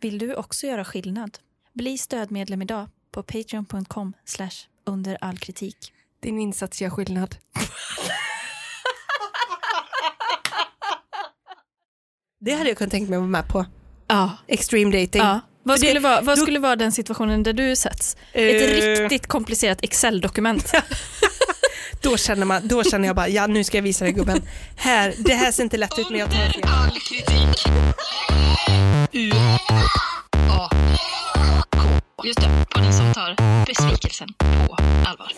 Vill du också göra skillnad? Bli stödmedlem idag på patreon.com under all kritik. Din insats gör skillnad. Det hade jag kunnat tänka mig att vara med på. Ja. Extreme dating. ja. Vad, Ska- skulle vara, vad då- skulle vara den situationen där du sätts? Ett Eh. riktigt komplicerat Excel-dokument. Då, känner man, då känner jag bara, ja nu ska jag visa dig gubben. Här, det här ser inte lätt ut men jag tar det. all kritik. U A K. Just det, podden som tar besvikelsen på allvar.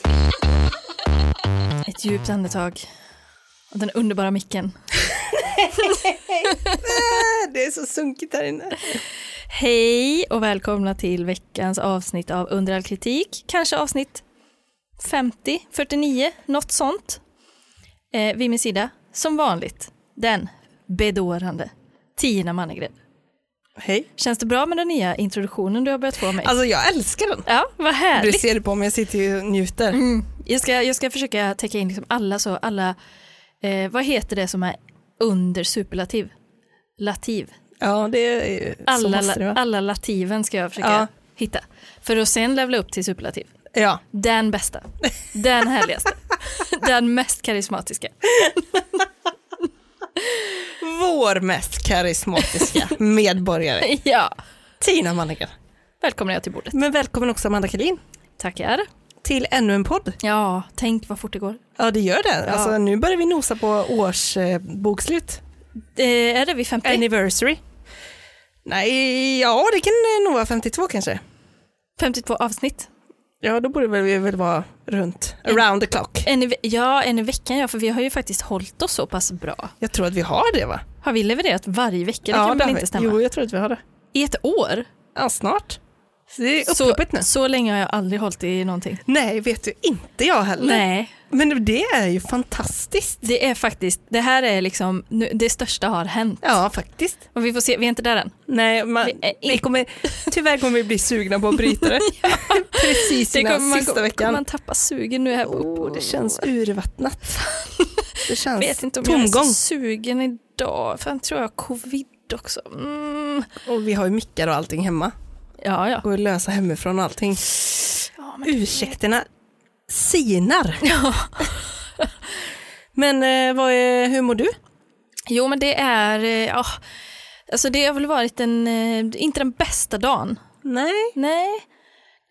Ett djupt andetag. Och den underbara micken. Ah, Det är så sunkigt här inne. Hej och välkomna till veckans avsnitt av Under all kritik. Kanske avsnitt 50, 49, något sånt. Eh, vid min sida, som vanligt, den bedårande Tina Mannegren. Hej. Känns det bra med den nya introduktionen du har börjat få mig? Alltså jag älskar den. ja, vad Du härligt. ser det på mig, jag sitter ju och njuter. Mm. Jag, ska, jag ska försöka täcka in liksom alla så, alla, eh, vad heter det som är under superlativ? Lativ. Ja, det är så Alla, måste det la, vara. alla lativen ska jag försöka Ja. hitta. För att sen levla upp till superlativ. Ja. Den bästa, den härligaste, den mest karismatiska. Vår mest karismatiska medborgare, Ja, Tina Manneken. välkomnar jag till bordet. Men välkommen också Amanda Kalin Tackar. till ännu en podd. Ja, tänk vad fort det går. Ja, det gör det. Ja. Alltså, nu börjar vi nosa på årsbokslut. Eh, är det vid 50? Anniversary. Nej, ja, det kan eh, nog vara 52 kanske. 52 avsnitt? Ja, då borde vi väl vara runt, around the clock. En i, ve- ja, en i veckan ja, för vi har ju faktiskt hållit oss så pass bra. Jag tror att vi har det va? Har vi levererat varje vecka? Det kan har väl vi. inte stämma? Jo, jag tror att vi har det. I ett år? Ja, snart. Så det är Så, upploppet nu. så länge har jag aldrig hållit i någonting. Nej, vet du, inte jag heller. Nej, Men det är ju fantastiskt. det är faktiskt, det här är liksom, nu, det största har hänt. Ja, faktiskt. Och vi får se, vi är inte där än. Nej, man, Vi är vi kommer, tyvärr kommer vi bli sugna på att bryta det. Precis Det innan kommer man, sista kommer veckan. man tappa sugen nu här på Åh, Äh, det känns urvattnat. Det känns Jag vet inte om jag är Alltså, tomgång. så sugen idag. Fan, tror jag har covid också. Mm. Och vi har ju mickar och allting hemma. Ja, ja. Går att lösa hemifrån och allting. ja men, Ursäkterna sinar. Men eh, vad är, hur mår du? jo, men det är... eh, Ja, alltså det har väl varit en... eh, Inte den bästa dagen. Nej. Nej.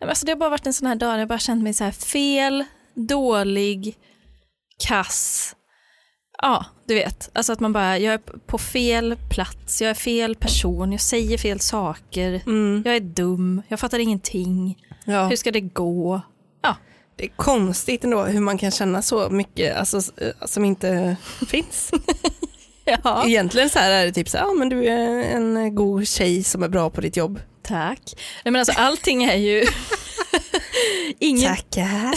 Nej, men Alltså det har bara varit en sån här dag där jag bara känt mig så här fel, dålig, kass. Ja, du vet. Alltså att man bara, jag är på fel plats, jag är fel person, jag säger fel saker, Mm. jag är dum, jag fattar ingenting. Ja. Hur ska det gå? Ja, Det är konstigt ändå hur man kan känna så mycket alltså, s- eh, som inte finns. ja. Egentligen så här är det typ så här, ja men du är en god tjej som är bra på ditt jobb. tack. Nej men alltså allting är ju... Ingen, Tackar.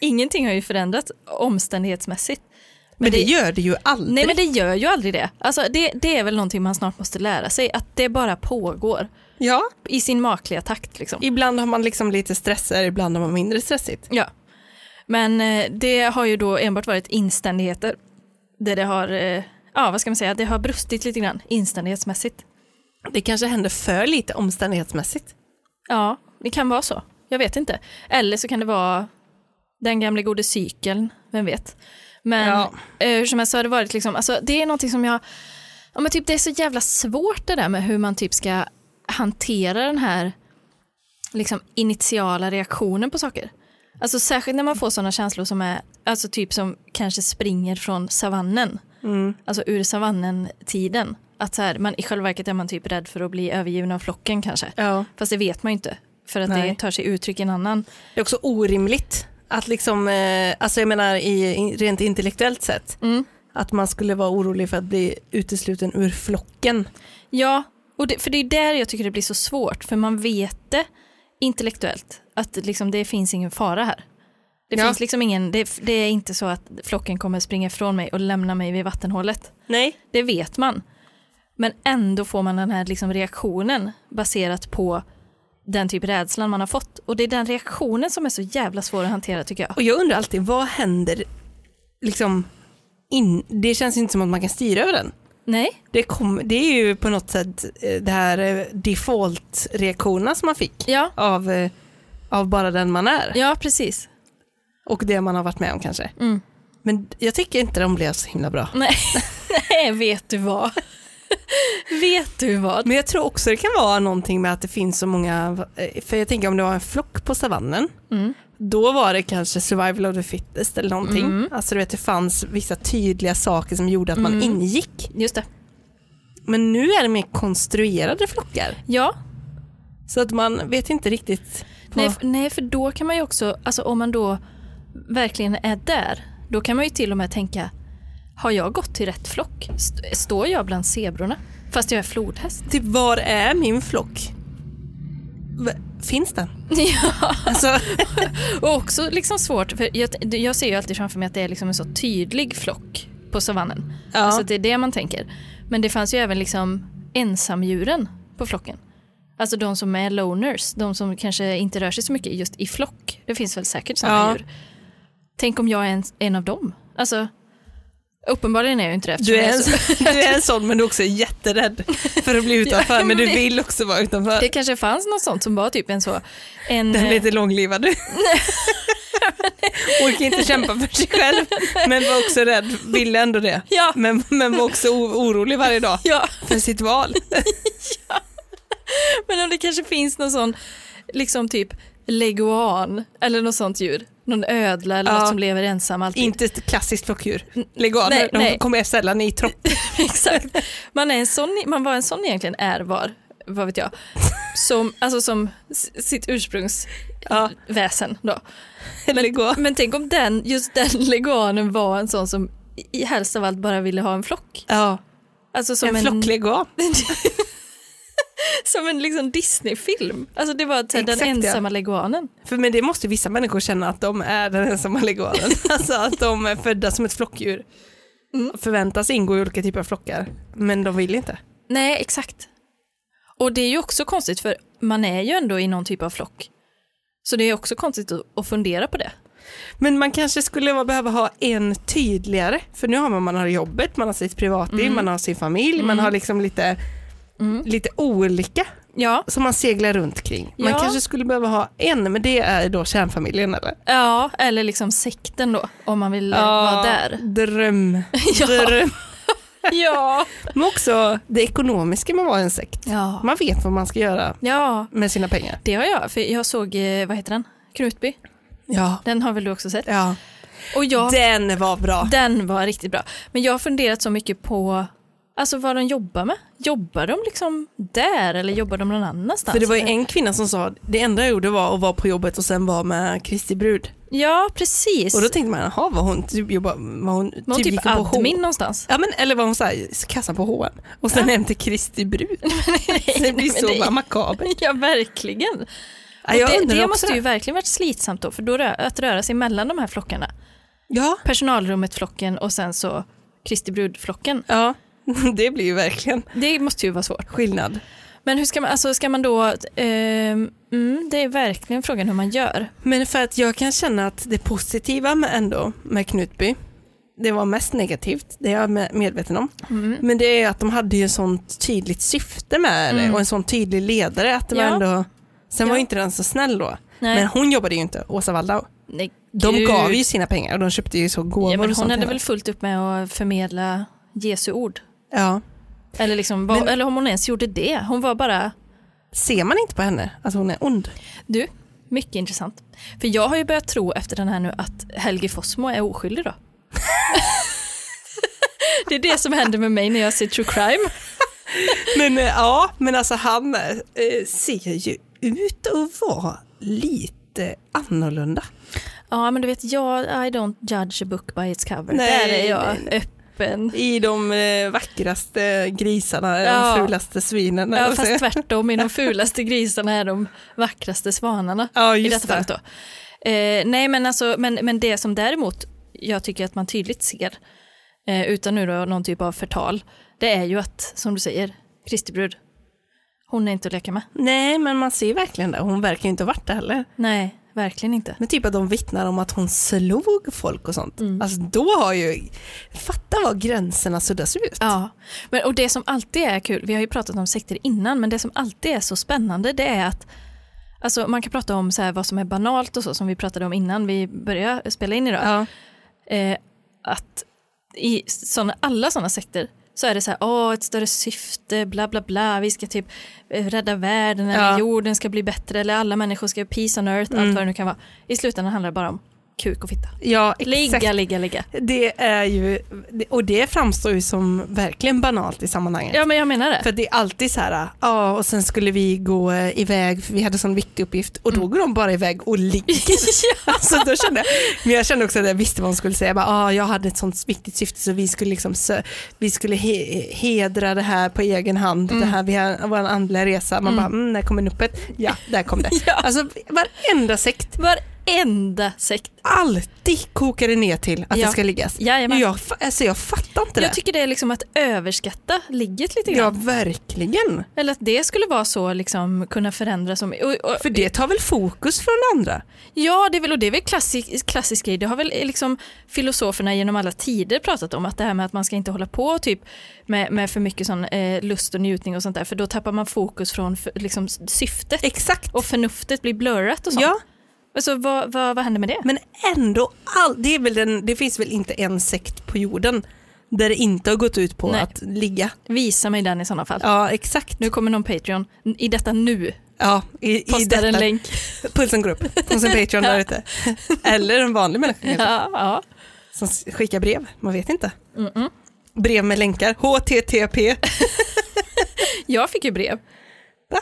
ingenting har ju förändrats omständighetsmässigt. Men det gör det ju aldrig. Nej men det gör ju aldrig det. Alltså, det. Det är väl någonting man snart måste lära sig, att det bara pågår Ja, i sin makliga takt. Liksom. ibland har man liksom lite stresser, ibland har man mindre stressigt. Ja. Men eh, det har ju då enbart varit inständigheter där det har, eh, ja vad ska man säga, det har brustit lite grann inständighetsmässigt. Det kanske händer för lite omständighetsmässigt. Ja, det kan vara så. Jag vet inte. Eller så kan det vara den gamla gode cykeln, vem vet. Men Ja. eh, hur som helst så har det varit liksom, alltså det är någonting som jag, ja men typ det är så jävla svårt det där med hur man typ ska hantera den här liksom initiala reaktionen på saker. Alltså särskilt när man får sådana känslor som är, alltså typ som kanske springer från savannen. Alltså ur savannen-tiden. Att så här, man, i själva verket är man typ rädd för att bli övergiven av flocken kanske. Ja. Fast det vet man ju inte. För att Nej. det tar sig uttryck i en annan. Det är också orimligt att liksom, eh, alltså jag menar i, i, rent intellektuellt sett, att man skulle vara orolig för att bli utesluten ur flocken. Ja, och det, för det är där jag tycker det blir så svårt. För man vet det intellektuellt. Att liksom det finns ingen fara här. Det Ja. finns liksom ingen, det, det är inte så att flocken kommer springa ifrån mig och lämna mig vid vattenhålet. Nej. Det vet man. Men ändå får man den här liksom reaktionen baserat på den typ rädslan man har fått. Och det är den reaktionen som är så jävla svår att hantera tycker jag. Och jag undrar alltid, vad händer liksom in, det känns inte som att man kan styra över den. Nej, Det, kom, det är ju på något sätt eh, det här eh, default-reaktionerna som man fick ja, av, eh, av bara den man är ja precis. och det man har varit med om kanske. Mm. Men jag tycker inte de blev så himla bra. Nej, Nej vet du vad? vet du vad? Men jag tror också det kan vara någonting med att det finns så många, eh, för jag tänker om det var en flock på savannen, Mm. då var det kanske survival of the fittest eller någonting. Mm. Alltså du vet det fanns vissa tydliga saker som gjorde att man Mm. ingick. Just det. Men nu är det mer konstruerade flockar. Ja, Så att man vet inte riktigt. På... nej, f- nej, för då kan man ju också, alltså om man då verkligen är där, då kan man ju till och med tänka, har jag gått till rätt flock? St- står jag bland zebrorna? Fast jag är flodhäst. Typ var är min flock? V- Finns den? ja. Alltså, Och också liksom svårt, för jag, jag ser ju alltid framför mig att det är liksom en så tydlig flock på savannen. Ja. Alltså att det är det man tänker. Men det fanns ju även liksom ensamdjuren på flocken. Alltså de som är loners, de som kanske inte rör sig så mycket just i flock. Det finns väl säkert sådana Ja. djur. Tänk om jag är en, en av dem. Alltså, uppenbarligen är jag ju inte det. eftersom du, jag är en, så- du är en sån men du är också jätterädd för att bli utanför men du men- vill också vara utanför. Det kanske fanns något sånt som var typ en så... En, Den är lite långlivad. Orkar inte kämpa för sig själv men var också rädd, ville ändå det. Ja. Men, men var också o- orolig varje dag ja. för sitt val. Men om det kanske finns någon sån, liksom typ leguan eller något sånt djur. Någon ödla eller Ja. något som lever ensam alltid. Inte ett klassiskt flockdjur. Leganer, Nej, de nej. kommer sällan i tropp. Exakt. Man, är en sån, man var en sån egentligen ärvar, vad vet jag. Som, alltså som s- sitt ursprungsväsen Ja. då. Leguan. Men tänk om den, just den leguanen var en sån som i helst av allt bara ville ha en flock. Ja. Alltså som En, en, flocklegan. Som en liksom Disney-film. Alltså det var så här, den Exakt, ja. ensamma leguanen. För men det måste vissa människor känna att de är den ensamma leganen. alltså att de är födda som ett flockdjur. Mm. Förväntas ingå i olika typer av flockar, men de vill inte. Nej, exakt. Och det är ju också konstigt för man är ju ändå i någon typ av flock. Så det är också konstigt att- att fundera på det. Men man kanske skulle vara- behöva ha en tydligare, för nu har man, man har jobbet, man har sitt privatliv, Mm. man har sin familj, man har liksom lite, lite olika Ja, som man seglar runt kring. Man Ja. kanske skulle behöva ha en, men det är då kärnfamiljen eller? ja eller liksom sekten då, om man vill eh, vara där. Dröm. Ja. Dröm. Ja. Men också det ekonomiska med att vara en sekt. ja. Man vet vad man ska göra Ja, med sina pengar. det har jag. För jag såg, eh, vad heter den? Knutby. Ja. Den har väl du också sett? ja. Och jag, Den var bra. den var riktigt bra. Men jag har funderat så mycket på Alltså vad de jobbar med. Jobbar de liksom där eller jobbar de någon annanstans? För det var ju en kvinna som sa det enda jag gjorde var att vara på jobbet och sen vara med Kristi brud. Ja, precis. Och då tänkte man, jaha, var hon typ, jobba, var hon, Var hon typ gick hon på H- admin någonstans? Ja, men, eller var hon så här, kassan på H&M och sen hem till Kristi brud. det blir men så det- bara makabert. Ja, verkligen. Ja, jag det undrar det också måste det. ju verkligen varit slitsamt då, för då rö- att röra sig mellan de här flockarna. Ja. Personalrummet-flocken och sen så Kristi brud-flocken. ja, det blir ju verkligen Det måste ju vara svårt. skillnad. Men hur ska man, alltså ska man då, ehm, mm, det är verkligen frågan hur man gör. Men för att jag kan känna att det positiva med ändå med Knutby, det var mest negativt, det är jag med- medveten om. Mm. Men det är att de hade ju ett sånt tydligt syfte med det Mm. och en sån tydlig ledare att det var Ja. ändå, sen var Ja. ju inte den så snäll då. Nej. Men hon jobbade ju inte, Åsa Waldau. Nej, De gud. gav ju sina pengar och de köpte ju så ja, gåvor men och Hon sånt hade hela. väl fullt upp med att förmedla Jesu ord. Ja. Eller, liksom, vad, Men- eller om hon ens gjorde det. Hon var bara, Ser man inte på henne att hon är ond? du, mycket intressant. För jag har ju börjat tro efter den här nu att Helge Fossmo är oskyldig då. det är det som händer med mig när jag ser true crime. Men eh, ja, men alltså han eh, ser ju ut att vara lite annorlunda. Ja, men du vet, jag, I don't judge a book by its cover. Nej, Där är jag nej, öppen. I de eh, vackraste grisarna, eh, Ja. de fulaste svinen. eller Ja, vad säger fast jag? tvärtom. I de fulaste grisarna är de vackraste svanarna. Ja, I just detta fallet då. Eh, nej, men, alltså, men, men det som däremot jag tycker att man tydligt ser, eh, utan nu då någon typ av förtal, det är ju att, som du säger, Kristi brud, hon är inte att leka med. Nej, men man ser verkligen det. Hon verkar ju inte ha varit det heller. Nej, verkligen inte. Men typ att de vittnar om att hon slog folk och sånt. Alltså då har ju, fatta vad gränserna suddas ut. Ja, men, och det som alltid är kul, vi har ju pratat om sekter innan, men det som alltid är så spännande det är att alltså, man kan prata om så här, vad som är banalt och så, som vi pratade om innan vi började spela in idag. Ja. Eh, att i såna, alla sådana sekter så är det så här, åh, ett större syfte, bla bla bla, vi ska typ eh, rädda världen eller Ja. Mm. jorden ska bli bättre eller alla människor ska peace on earth, allt vad det nu kan vara. I slutändan handlar det bara om kuk och fitta. ja exakt. Ligga, ligga, ligga. Det är ju, och det framstår ju som verkligen banalt i sammanhanget. Ja, men jag menar det. För det är alltid så här, ja och sen skulle vi gå eh, iväg, för vi hade sån viktig uppgift och Mm. då går de bara iväg och ligger. alltså, då kände jag, men jag kände också att jag visste vad hon skulle säga, jag, bara, ah, jag hade ett sånt viktigt syfte så vi skulle, liksom, sö- vi skulle he- hedra det här på egen hand, Mm. det här, vi har, vår andliga resa. Man bara, mm, när kommer nuppet? Ja, där kom det. Ja. Alltså varenda sekt, Varenda sekt. alltid kokar det ner till att Ja. det ska liggas. Jajamän. Jag, fa- alltså, jag fattar inte det. Jag tycker det är liksom att överskatta ligget lite Ja, grann. verkligen. Eller att det skulle vara så liksom kunna förändras. Om, och, och, För det tar väl fokus från det andra? ja, det är väl, och det är väl klassisk, klassisk grej. Det har väl eh, liksom filosoferna genom alla tider pratat om. Att det här med att man ska inte hålla på typ med, med för mycket sån eh, lust och njutning och sånt där. För då tappar man fokus från för, liksom, syftet. Exakt. Och förnuftet blir blurrat och sånt. Ja, Alltså, vad, vad, vad händer med det? men ändå, all, det, är väl den, det finns väl inte en sekt på jorden där det inte har gått ut på Nej. att ligga. Visa mig den i sådana fall. Ja, exakt. Nu kommer någon Patreon, n- i detta nu, Ja, i, i postar en detta. länk. Pulsen går upp hos en Patreon där ute. Eller en vanlig människa kanske, Ja, ja. Mm, som skickar brev. Man vet inte. Brev med länkar. HTTP. Jag fick ju brev. Va?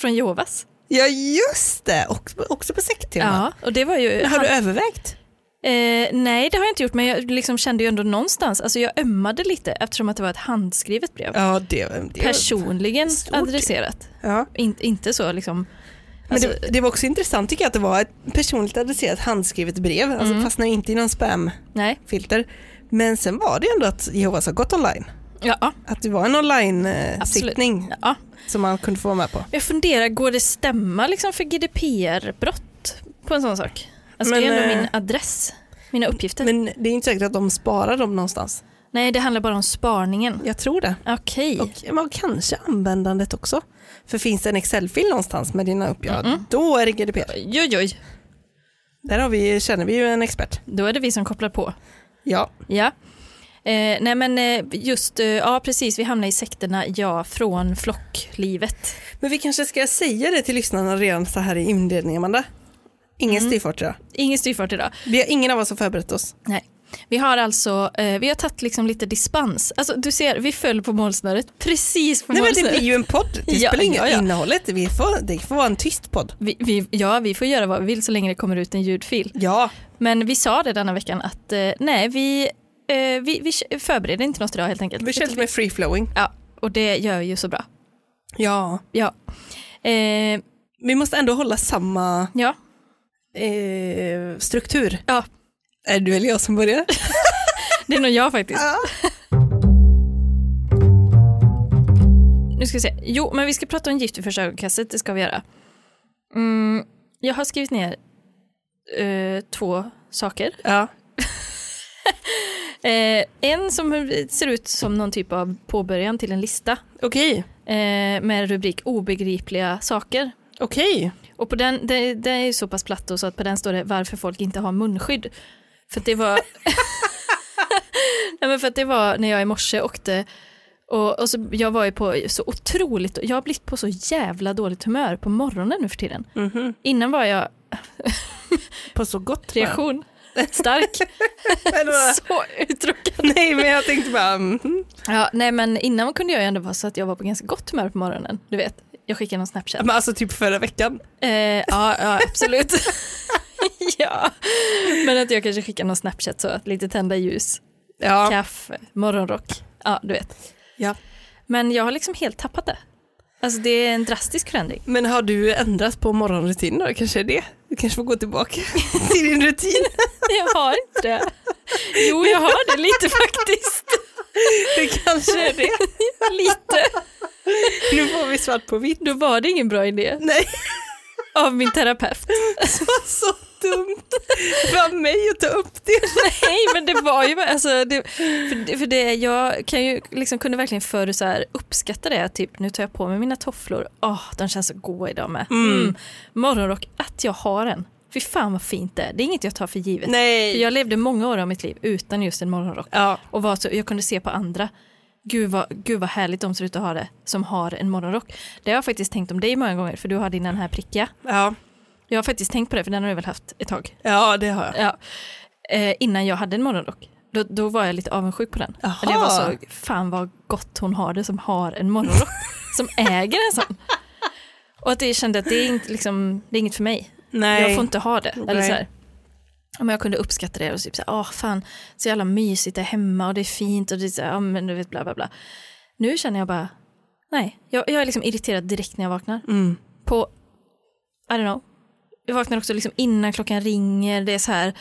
Från Jehovas. Ja, just det. Också, också på sekttema. Ja, och det var ju... Ja. Har han- du övervägt? eh, nej, det har jag inte gjort, men jag liksom kände ju ändå någonstans, alltså jag ömmade lite eftersom att det var ett handskrivet brev. Ja, det, det Personligen Stort. adresserat. Ja. In, inte så liksom... Men Alltså, det, det var också intressant tycker jag att det var ett personligt adresserat handskrivet brev, alltså fastnar inte i någon spamfilter. Nej, Men sen var det ändå att Jehovas har gått online. ja, ja, Att det var en Absolut. online-sittning ja. som man kunde få vara med på. Jag funderar, går det stämma liksom för GDPR-brott på en sån sak? Alltså Men, det är ändå eh, min adress, mina uppgifter. Men det är inte säkert att de sparar dem någonstans. nej, det handlar bara om sparningen. Jag tror det. Okej. Och, men kanske användandet också. För finns det en Excel-fil någonstans med dina uppgifter, då är det GDPR. Oj, oj, Där har vi, känner vi ju en expert. då är det vi som kopplar på. Ja, Ja. Eh, nej men eh, just, eh, ja precis, vi hamnar i sekterna, ja, från flocklivet. men vi kanske ska säga det till lyssnarna redan så här i inledningen, Amanda. Ingen styrfart idag. Ingen styrfart idag. Vi har ingen av oss har förberett oss. Nej. Vi har alltså, eh, vi har tagit liksom lite dispens. Alltså du ser, vi föll på målsnöret, precis på Nej men det målsnöret. blir ju en podd, det Ja, spelar inget ja, ja. innehållet, vi får, det får vara en tyst podd. vi, vi, ja, vi får göra vad vi vill så länge det kommer ut en ljudfil. Ja, Men vi sa det denna veckan att eh, nej, vi, eh, vi, vi förbereder inte något idag helt enkelt. vi kör lite med free flowing. Ja, och det gör vi ju så bra. Ja. Ja. Eh, Vi måste ändå hålla samma ja, eh, struktur. ja, Är du eller jag som börjar? det är nog jag faktiskt. Ja. Nu ska vi se. Jo, men vi ska prata om gift i försörjarkastet, det ska vi göra. Mm, jag har skrivit ner eh, två saker. ja. Eh, en som ser ut som någon typ av påbörjan till en lista Okej, eh, med rubrik obegripliga saker. okej. Och på den, det, det är ju så pass platt då, så att på den står det varför folk inte har munskydd. För att det var... Nej men för att det var när jag i morse åkte och, och så, jag var ju på så otroligt, jag har blivit på så jävla dåligt humör på morgonen nu för tiden. Mhm. Innan var jag På så gott humör. reaktion, stark, Men vad- så uttråkad. Nej men jag tänkte bara, mhm. Ja, nej men innan kunde jag ju ändå vara så att jag var på ganska gott humör på morgonen, du vet. Jag skickade någon Snapchat. men alltså typ förra veckan. Eh, ja, ja, absolut. ja. Men att jag kanske skickar någon Snapchat så, att lite tända ljus, Ja. kaffe, morgonrock. Ja, du vet. ja. Men jag har liksom helt tappat det. Alltså det är en drastisk förändring. Men har du ändrat på morgonrutinen då? Kanske är det? Du kanske får gå tillbaka till din rutin. Jag har inte det. Jo, jag har det lite faktiskt. Det kanske är det. Lite. Nu får vi svart på vitt. Då var det ingen bra idé. Nej. av min terapeut. Så dumt för mig att ta upp det. Nej men det var ju, alltså, det, för, det- för det, jag kan ju, liksom, kunde verkligen förr så här, uppskatta det, typ nu tar jag på mig mina tofflor, åh de känns så goa idag med. Mm. Morgonrock, att jag har en. Fy fan vad fint det är, det är inget jag tar för givet. För Nej. jag levde många år av mitt liv utan just en morgonrock. Ja. Och var så, jag kunde se på andra, gud vad, gud vad härligt de ser ut att ha det, som har en morgonrock. Det har jag faktiskt tänkt om dig många gånger, för du har din den här prickiga. Ja. Jag har faktiskt tänkt på det, för den har du väl haft ett tag? ja, det har jag. Ja. Eh, innan jag hade en morgonrock. Då, då var jag lite avundsjuk på den. Jaha. Eller jag var så, fan vad gott hon har det som har en morgonrock. som äger en sån. Och att jag kände att det är, inte, liksom, det är inget för mig. Nej. Jag får inte ha det. Eller Nej. så här. Ja, men jag kunde uppskatta det och typ såhär, åh fan, så jävla mysigt där hemma och det är fint och det är så här, ja men du vet bla bla bla. Nu känner jag bara, nej, jag, jag är liksom irriterad direkt när jag vaknar. Mm. På, I don't know, jag vaknar också liksom innan klockan ringer, det är så här,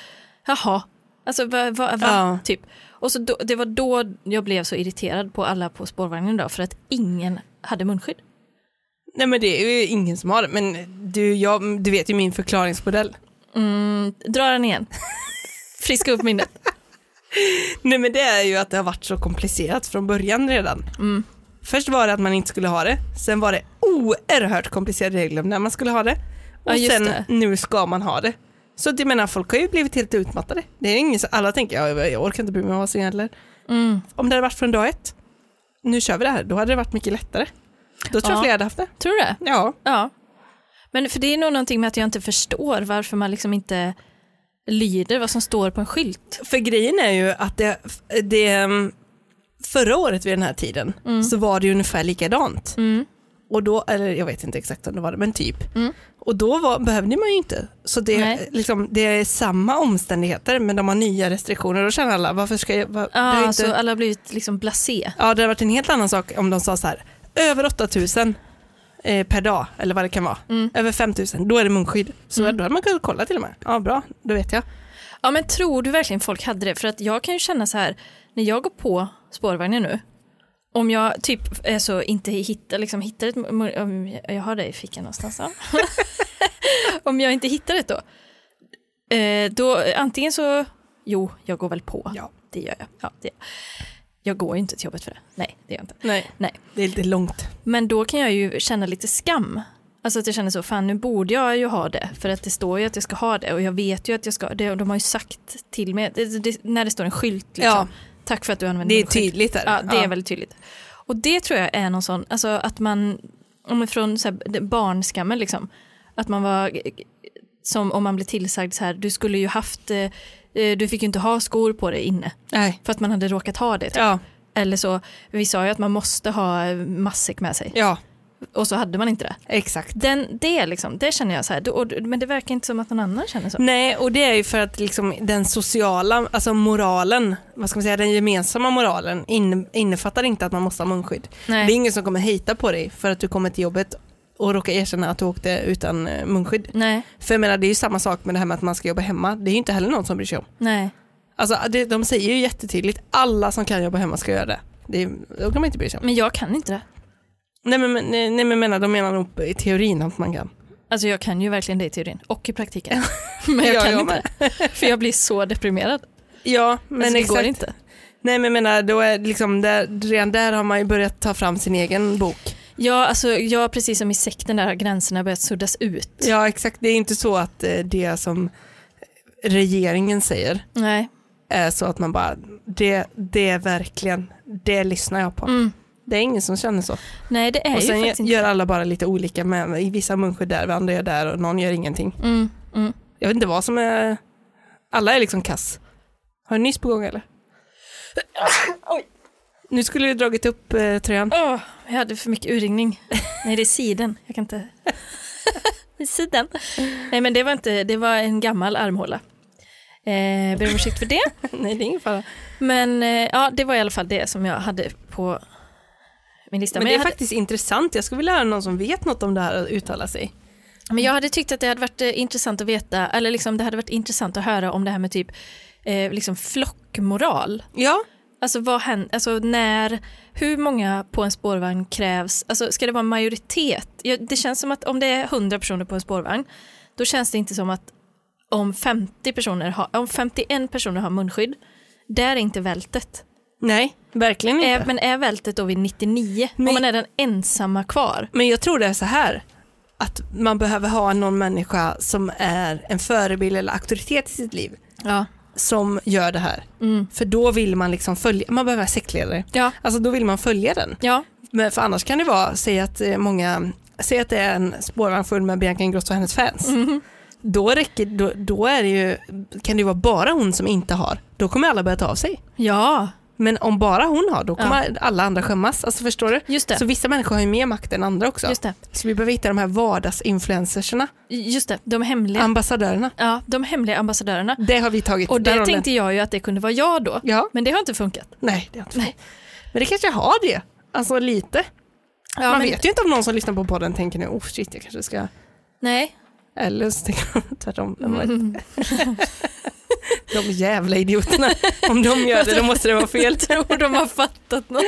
jaha, alltså va, va, va? Ja. typ. Och så då, det var då jag blev så irriterad på alla på spårvagnen då, för att ingen hade munskydd. Nej men det är ju ingen som har det. Men du, jag, du vet ju min förklaringsmodell. Mm. Dra den igen. Friska upp minnet. Nej men det är ju att det har varit så komplicerat från början redan. Mm. Först var det att man inte skulle ha det, sen var det oerhört komplicerade regler om när man skulle ha det. Och Ja, just sen det. nu ska man ha det. Så att jag menar, folk har ju blivit helt utmattade. Det är ingen, så- alla tänker, ja, jag jag orkar inte bry mig om vad som gäller. Mm. Om det hade varit från dag ett, nu kör vi det här, då hade det varit mycket lättare. Då tror jag Ja. fler hade haft det. Tror du det? Ja. Ja. Men för det är nog någonting med att jag inte förstår varför man liksom inte lyder vad som står på en skylt. För grejen är ju att det, det ehm, förra året vid den här tiden Mm. så var det ju ungefär likadant. Och då, eller jag vet inte exakt om det var det, men typ. Och då var, behövde man ju inte. Så det, Mm. Nej. liksom, det är samma omständigheter men de har nya restriktioner. Då känner alla, varför ska jag... Var, det har Ja, ju så inte, alla har blivit liksom blasé. ja, det hade varit en helt annan sak om de sa så här, över 8000 eh, per dag eller vad det kan vara. Mm. Över 5000, då är det munskydd. Så då hade man kunnat kolla till och med. Ja, bra, då vet jag. Ja, men tror du verkligen folk hade det? För att jag kan ju känna så här, när jag går på spårvagnen nu, om jag typ är så inte hittar, liksom hittar ett, mu- om jag- jag har det i fickan någonstans. Ja. om jag inte hittar det då, eh, då antingen så, jo, jag går väl på. Ja. Det gör jag. Ja, det, jag går ju inte till jobbet för det. Nej, det gör jag inte. Nej. Nej. Det är lite långt. Men då kan jag ju känna lite skam. Alltså att jag känner så, fan nu borde jag ju ha det, för att det står ju att jag ska ha det och jag vet ju att jag ska, det, och de har ju sagt till mig, det, det, när det står en skylt liksom. Ja. Tack för att du använder Det är min skylt. tydligt där. Ja, det Ja. är väldigt tydligt. Och det tror jag är någon sån, alltså att man, om man från så här, det- barnskammen liksom, att man var, som om man blev tillsagd så här, du skulle ju haft, eh, eh, du fick ju inte ha skor på dig inne, Nej. för att man hade råkat ha det. typ. Ja, Eller så, vi sa ju att man måste ha matsäck med sig ja och så hade man inte det. exakt. Den, det, liksom, det känner jag så här, då- och- men det verkar inte som att någon annan känner så. Nej, och det är ju för att liksom den sociala, alltså moralen, vad ska man säga, den gemensamma moralen inne, innefattar inte att man måste ha munskydd. Nej. Det är ingen som kommer hejta på dig för att du kommer till jobbet och råkar erkänna att du åkte utan eh, munskydd. Nej, För jag menar, det är ju samma sak med det här med att man ska jobba hemma. Det är ju inte heller någon som bryr sig om. nej. Alltså, det, de säger ju jättetydligt, alla som kan jobba hemma ska göra det. det är, då kan man inte bry sig om. Men jag kan inte det. Nej men, men- nej, nej, men menar, de menar nog i teorin att man kan. Alltså jag kan ju verkligen det i teorin och i praktiken. Men jag Ja, kan jag inte det. För jag blir så deprimerad. Ja, Men men alltså, det exakt. går inte. Nej men jag menar, då är det liksom där, redan där har man ju börjat ta fram sin egen bok. Ja, alltså, jag precis som i sekten där har gränserna börjat suddas ut. Ja exakt, det är inte så att eh, det som eh, regeringen säger Nej. är så att man bara, det, det är verkligen, det lyssnar jag på. Mm. Det är ingen som känner så. nej, det är och ju sen faktiskt gör alla bara lite olika, med, i vissa munskydd där, andra gör där och någon gör ingenting. inte. Mm, mm. Jag vet inte vad som är, alla är liksom kass. Har du nyss på gång eller? Nu skulle du dragit upp eh, tröjan. Åh, jag hade för mycket urringning. Nej, det är siden. Jag kan inte... det är siden. Nej, men det var inte... Det var en gammal armhåla. Eh, ber om ursäkt för det. Nej det är ingen fara. Men eh, ja, det var i alla fall det som jag hade på min lista. Men det jag, är hade, faktiskt intressant. Jag skulle vilja höra någon som vet något om det här att uttala sig. men jag hade tyckt att det hade varit eh, intressant att veta, eller liksom det hade varit intressant att höra om det här med typ eh, liksom flockmoral. Ja, Alltså, vad händer, alltså när, hur många på en spårvagn krävs? Alltså, ska det vara en majoritet? Ja, det känns som att om det är 100 personer på en spårvagn, då känns det inte som att om, 50 personer har, om 51 personer har munskydd, där är inte vältet. Nej, verkligen inte. Är, men är vältet då vid 99, Men- om man är den ensamma kvar? Men jag tror det är så här att man behöver ha någon människa som är en förebild eller auktoritet i sitt liv Ja. som gör det här. För då vill man liksom följa, man behöver ha sektledare. Ja. Alltså då vill man följa den. Ja, Men för annars kan det vara, säg att eh, många, säg att det är en spårvagn full med Bianca Ingrosso och hennes fans. Då, räcker, då, då är det ju, kan det ju vara bara hon som inte har. Då kommer alla börja ta av sig. ja. Men om bara hon har, då kommer alla andra skämmas. Alltså förstår du? Just det. Så vissa människor har ju mer makt än andra också. Just det. Så vi behöver hitta de här vardagsinfluencerserna, just det, de hemliga, ambassadörerna. ja, de hemliga ambassadörerna. Det har vi tagit. Och Den det rollen. tänkte jag ju att det kunde vara jag då, Ja. men det har inte funkat. Nej, det har jag inte. Nej. Men det kanske jag har det. Alltså lite. Ja, Man men- vet ju inte om någon som lyssnar på podden tänker nu, oh shit, jag kanske ska... Nej, Eller så tänker de tvärtom. De, Mm. bara, de jävla idioterna. Om de gör det, då måste det vara fel. jag tror de har fattat något.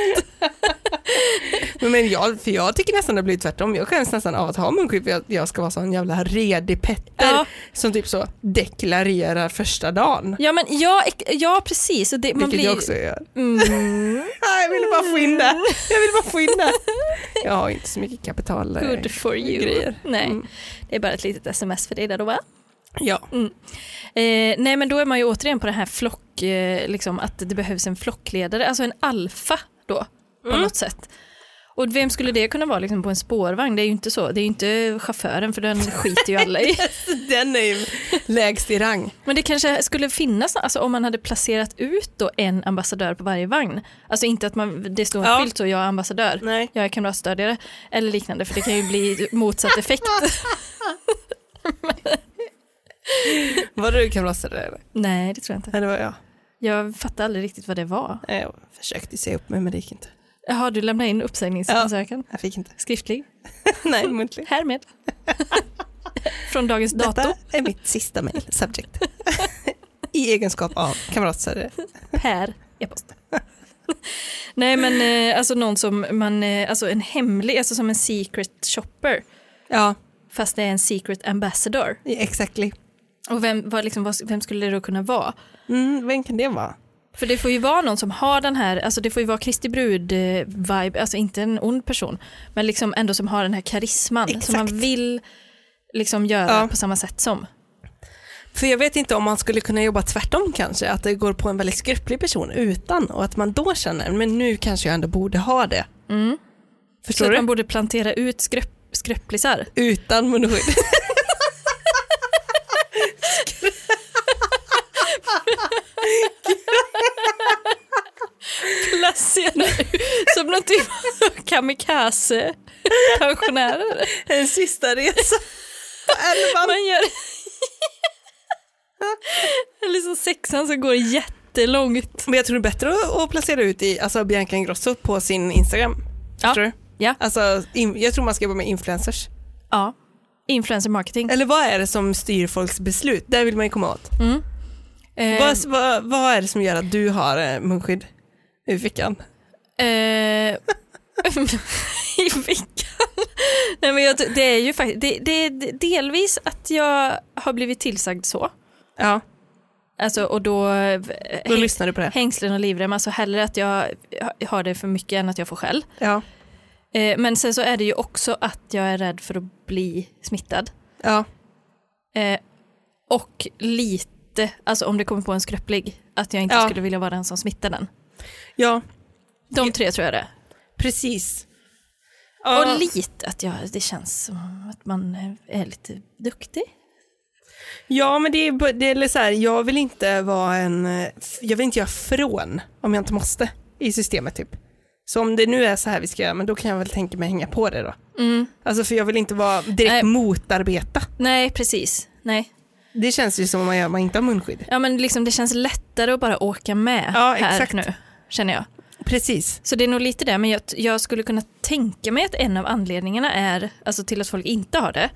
Men jag, för jag tycker nästan det blir tvärtom. Jag skäms nästan av att ha munskydd för jag, jag ska vara sån jävla redig petter Ja. som typ så deklarerar första dagen. Ja, men ja, ex- ja precis. Och det, man Vilket blir, jag också gör. Mm, Ah, jag ville bara få in det. Jag ville bara få in det. Jag har inte så mycket kapital. eh, good for you. grejer. Nej, Mm. det är bara ett litet sms för dig där då va? Ja. Eh, nej men då är man ju återigen på den här flock, eh, liksom att det behövs en flockledare, alltså en alfa då på Mm. något sätt. Och vem skulle det kunna vara liksom, på en spårvagn? Det är ju inte så, det är ju inte chauffören för den skiter ju alla i. Den är ju lägst i rang. Men det kanske skulle finnas, alltså om man hade placerat ut då en ambassadör på varje vagn. Alltså inte att man, det står en Ja. skylt så jag är ambassadör, Nej. jag är kamratstödjare eller liknande för det kan ju bli motsatt effekt. Var det du kamratstödjare eller? Nej det tror jag inte. Nej, det var jag. Jag fattar aldrig riktigt vad det var. Nej, Jag försökte se upp mig men det gick inte. Jaha, du lämnade in uppsägningsansökan? Jag fick inte. Skriftlig? Nej, muntlig. Härmed. Från dagens dato. är mitt sista mail, subject. I egenskap av kamratstödjare. Per e-post. Nej men eh, alltså någon som man, eh, alltså en hemlig, alltså som en secret shopper. Ja, Fast det är en secret ambassador. exactly. Och vem, vad, liksom, vad, vem skulle det då kunna vara? Mm, vem kan det vara? För det får ju vara någon som har den här, alltså det får ju vara Kristi brud-vibe, alltså inte en ond person, men liksom ändå som har den här karisman som Exakt. man vill liksom göra Ja. på samma sätt som. För jag vet inte om man skulle kunna jobba tvärtom kanske, att det går på en väldigt skröplig person utan och att man då känner, men nu kanske jag ändå borde ha det. Så Förstår att Mm. du? man borde plantera ut skrupp, skröpplisar. Utan munskydd. Placera ut som någon typ av kamikaze-pensionärer. en sista resa på elvan. Man gör... Eller som sexan som går jättelångt. Men jag tror det är bättre att- att placera ut i, alltså Bianca Ingrosso på sin Instagram. Ja. Förstår du? Ja, Alltså, in, jag tror man ska jobba med influencers. ja. influencer marketing. Eller vad är det som styr folks beslut? Där vill man ju komma åt. Eh, Vad, vad, vad är det som gör att du har eh, munskydd i fickan? Eh, I veckan? Nej men jag, det är ju faktiskt, det, det är delvis att jag har blivit tillsagd så. Ja, Alltså och då, eh, då häng- lyssnar du på det. hängslen och livrem, alltså hellre att jag har det för mycket än att jag får skäll. Ja, Eh, men sen så är det ju också att jag är rädd för att bli smittad. ja. Eh, och lite, alltså om det kommer på en skröplig, att jag inte Ja. skulle vilja vara den som smittar den. ja De tre tror jag det är. precis. Och lite att jag, det känns som att man är lite duktig. Ja, men det är, b- det är eller så här, jag vill inte vara en, eh, f- jag vill inte göra från om jag inte måste i systemet typ. Så om det nu är så här vi ska göra, men då kan jag väl tänka mig hänga på det då. Alltså för jag vill inte vara direkt Mm. Nej. motarbeta. Nej, precis. Nej. Det känns ju som om man, gör, om man inte har munskydd. Ja, men liksom, det känns lättare att bara åka med Ja, här exakt. nu, känner jag. Precis. Så det är nog lite det, men jag, jag skulle kunna tänka mig att en av anledningarna är, alltså till att folk inte har det,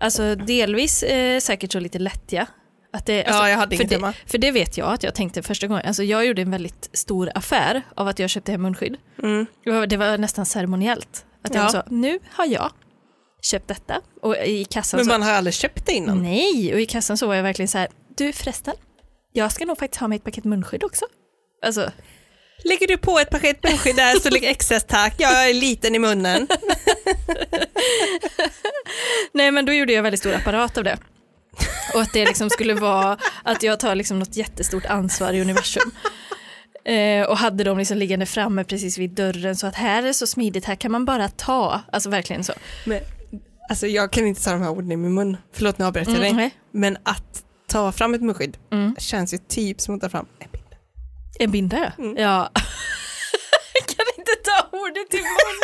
alltså delvis eh, säkert så lite lättja, Att det, Ja, jag hade för inget det, hemma. För det vet jag att jag tänkte första gången. Alltså jag gjorde en väldigt stor affär av att jag köpte hem munskydd. Det var- Det var nästan ceremoniellt. Att Mm. Ja. jag sa, nu har jag köpt detta. Och i kassan Men så, man har aldrig köpt det innan. Mm. nej, och i kassan så var jag verkligen så här, du förresten, jag ska nog faktiskt ha mig ett paket munskydd också. Alltså, Lägger du på ett paket munskydd där så ligger excess tack. Jag är liten i munnen. nej men då gjorde jag väldigt stor apparat av det. Och att det liksom skulle vara att jag tar liksom något jättestort ansvar i universum. Eh, och hade dem liksom liggande framme precis vid dörren så att här är det så smidigt, här kan man bara ta. Alltså verkligen så. Men, alltså jag kan inte ta de här orden i min mun. Förlåt nu avbröt jag Mm, dig. nej. Men att ta fram ett munskydd känns ju typ som att ta fram en bild. En binda Mm. ja. Jag kan inte ta ordet i munnen.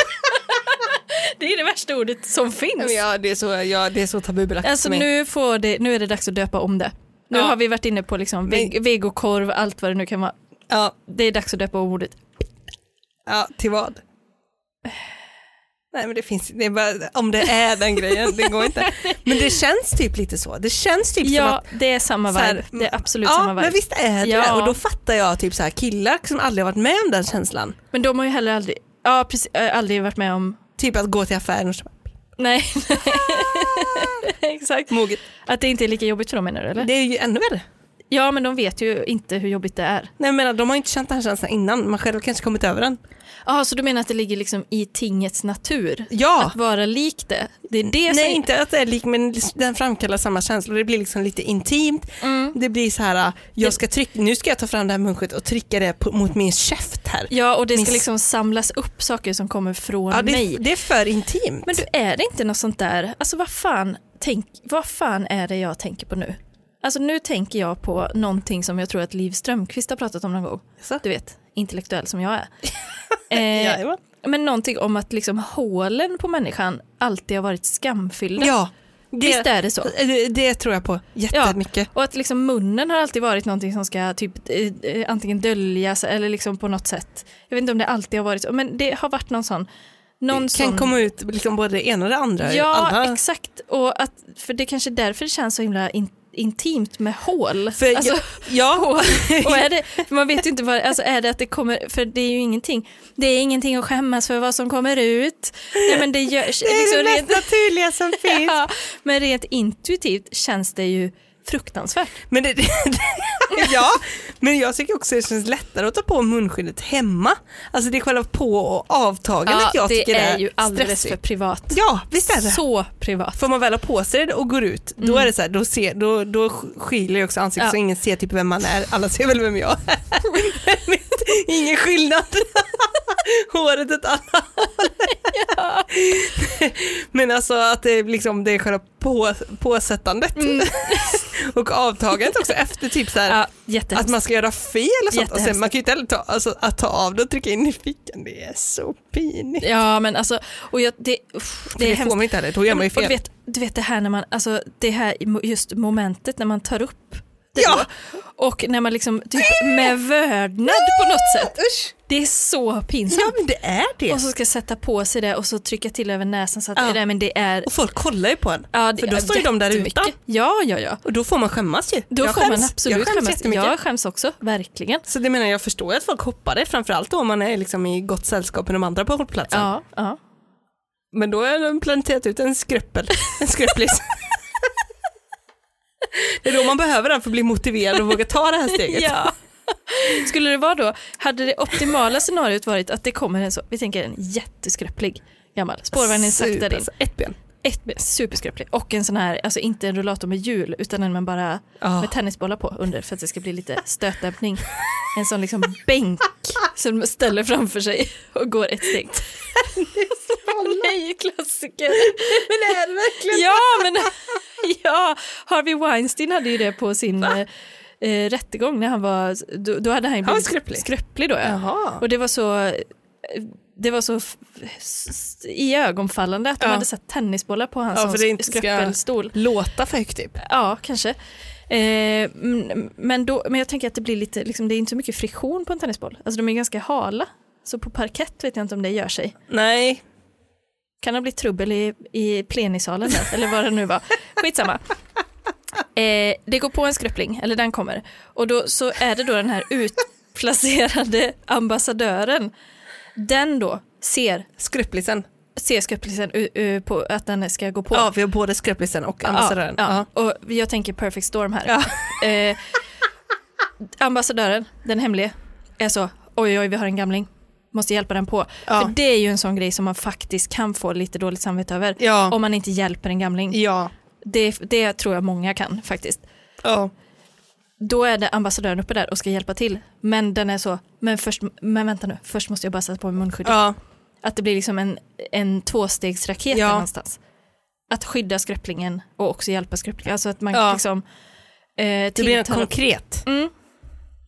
det är det värsta ordet som finns. Ja, det är så, ja, det är så tabubelagt Alltså för mig. nu, får det, nu är det dags att döpa om det. Nu Ja. har vi varit inne på liksom veg- vegokorv, allt vad det nu kan vara. Ja, Det är dags att döpa om ordet. ja, till vad? Nej men det finns det är bara, om det är den grejen, det går inte. Men det känns typ lite så. Det känns typ som Ja, att det är samma vibe. så här, mm, det är absolut ja, samma vibe. men Men, visst är det Ja. Och då fattar jag typ så här killar som aldrig har varit med om den känslan. de har ju heller aldrig, ja, precis, äh, aldrig varit med om, Typ att gå till affären och så bara, nej. Exakt. moget. Att det inte är lika jobbigt för dem menar du eller? Det är ju ännu värre. Ja, men de vet ju inte hur jobbigt det är. Nej men de har ju inte känt den här känslan innan, man själv har kanske kommit över den. Jaha, så du menar att det ligger liksom i tingets natur? Ja, Att vara lik det? Det är det nej som... inte att det är lik men liksom, den framkallar samma känslor. Det blir liksom lite intimt. Mm. Det blir så här, äh, jag ska tryck, nu ska jag ta fram det här munskyddet och trycka det på, mot min käft här. Ja, och det ska Miss- liksom samlas upp saker som kommer från Ja, det, mig. det är för intimt. Men du, är det inte något sånt där, alltså vad fan, tänk, vad fan är det jag tänker på nu? Alltså nu tänker jag på någonting som jag tror att Liv Strömquist har pratat om någon gång. Jaså? Du vet, intellektuell som jag är. eh, Jajamän. men någonting om att liksom hålen på människan alltid har varit skamfyllda. ja, det, eh, Visst är det så? det, det tror jag på jättemycket. Och att liksom munnen har alltid varit någonting som ska typ eh, eh, antingen döljas eller liksom på något sätt. Jag vet inte om det alltid har varit så, men det har varit någon sån. Någon kan sån... komma ut liksom både det ena och det andra. Ja, Alla- exakt. Och att, för det är kanske är därför det känns så himla in, intimt med hål. För alltså, jag, ja, och är det, för man vet ju inte vad, alltså är det att det kommer, för det är ju ingenting, det är ingenting att skämmas för vad som kommer ut. Nej, men det, gör, det är det mest liksom rent, naturliga som finns. ja, men rent intuitivt känns det ju fruktansvärt. Men det, ja, men jag tycker också det känns lättare att ta på munskyddet hemma. Alltså det är själva på och avtagandet jag det tycker är ju alldeles stressigt. för privat. Ja, visst är det. Så privat. Får man väl ha på sig det och går ut, då är det så här, då, ser, då, då skiljer jag också ansiktet Mm. Ja. så ingen ser typ vem man är. Alla ser väl vem jag är. Men ingen skillnad. Håret åt alla håll. Men alltså att det, är liksom, det är själva på, påsättandet och avtagandet också efter typ så här. Mm. Ja, Att jättehemskt. man ska göra fel och sånt. Och sen, Jättehemskt. man kan ju inte heller ta, alltså, att ta av det och trycka in i fickan, det är så pinigt. Ja, men alltså, och jag, det, uff, Det, det är får hemskt. man inte heller, då gör man ju Och du fel. vet, du vet det här när man, alltså det här mo- just momentet när man tar upp det Ja. då, och när man liksom typ med vördnad på något sätt. Usch. Det är så Ja pinsamt. men det är det. Och så ska sätta på sig det och så trycka till över näsan så att Ja. nej, men det är... Och folk kollar ju på en. Ja, för då står ju de där jättemycket. utan. Ja, ja, ja. Och då får man skämmas ju. Då jag får skäms. man absolut jag skäms jättemycket. Jag skäms också, verkligen. Så det menar jag, jag förstår ju att folk hoppar det, framförallt då om man är liksom i gott sällskap med de andra på hållplatsen. Ja, ja. Men då har de planterat ut en skröppel, en skröpplis. det är då man behöver den för att bli motiverad och våga ta det här steget. Ja. Skulle det vara då, hade det optimala scenariot varit att det kommer en så, vi tänker en jätteskröplig gammal spårvagnen saktar in, Super- Ett ben. ett ben, superskräplig. Och en sån här, alltså inte en rullator med hjul utan en man bara Ja. med tennisbollar på under för att det ska bli lite stötdämpning. En sån liksom bänk som man ställer framför sig och går ett steg. Nej, klassiker. Men är det verkligen? Ja, men ja, Harvey Weinstein hade ju det på sin eh, eh, rättegång när han var, då, då hade han ju var blivit skröplig. skröplig då ja. Jaha. Och det var så, eh, det var så f- s- i ögonfallande att de Ja. hade satt tennisbollar på hans Ja, ja, för det inte ska- skröppelstol. Låta för högt typ. Ja, kanske. Eh, m- men, då, men jag tänker att det blir lite, liksom, det är inte så mycket friktion på en tennisboll. Alltså de är ganska hala. Så på parkett vet jag inte om det gör sig. Nej. Kan det bli trubbel i, i plenisalen där, eller vad det nu var. Skitsamma. Eh, det går på en skröpling, eller den kommer. Och då så är det då den här utplacerade ambassadören. Den då ser, Skröplisen. ser skröplingen u- u- på att den ska gå på. Ja, vi har både skröplisen och ambassadören. Ja, Ja. ja. Och jag tänker perfect storm här. Eh, ambassadören, den hemlige, är så, oj oj vi har en gamling, måste hjälpa den på. Ja. För det är ju en sån grej som man faktiskt kan få lite dåligt samvete över. Ja. Om man inte hjälper en gamling. Ja. Det, det tror jag många kan faktiskt. ja. Då är det ambassadören uppe där och ska hjälpa till. Men den är så, men, först, men vänta nu, först måste jag bara sätta på mig munskyddet. ja. Att det blir liksom en, en tvåstegsraket Ja. där någonstans. Att skydda skröplingen och också hjälpa skröplingen. Alltså att man Ja. liksom... Eh, Det blir något tilltalar- konkret. Mm,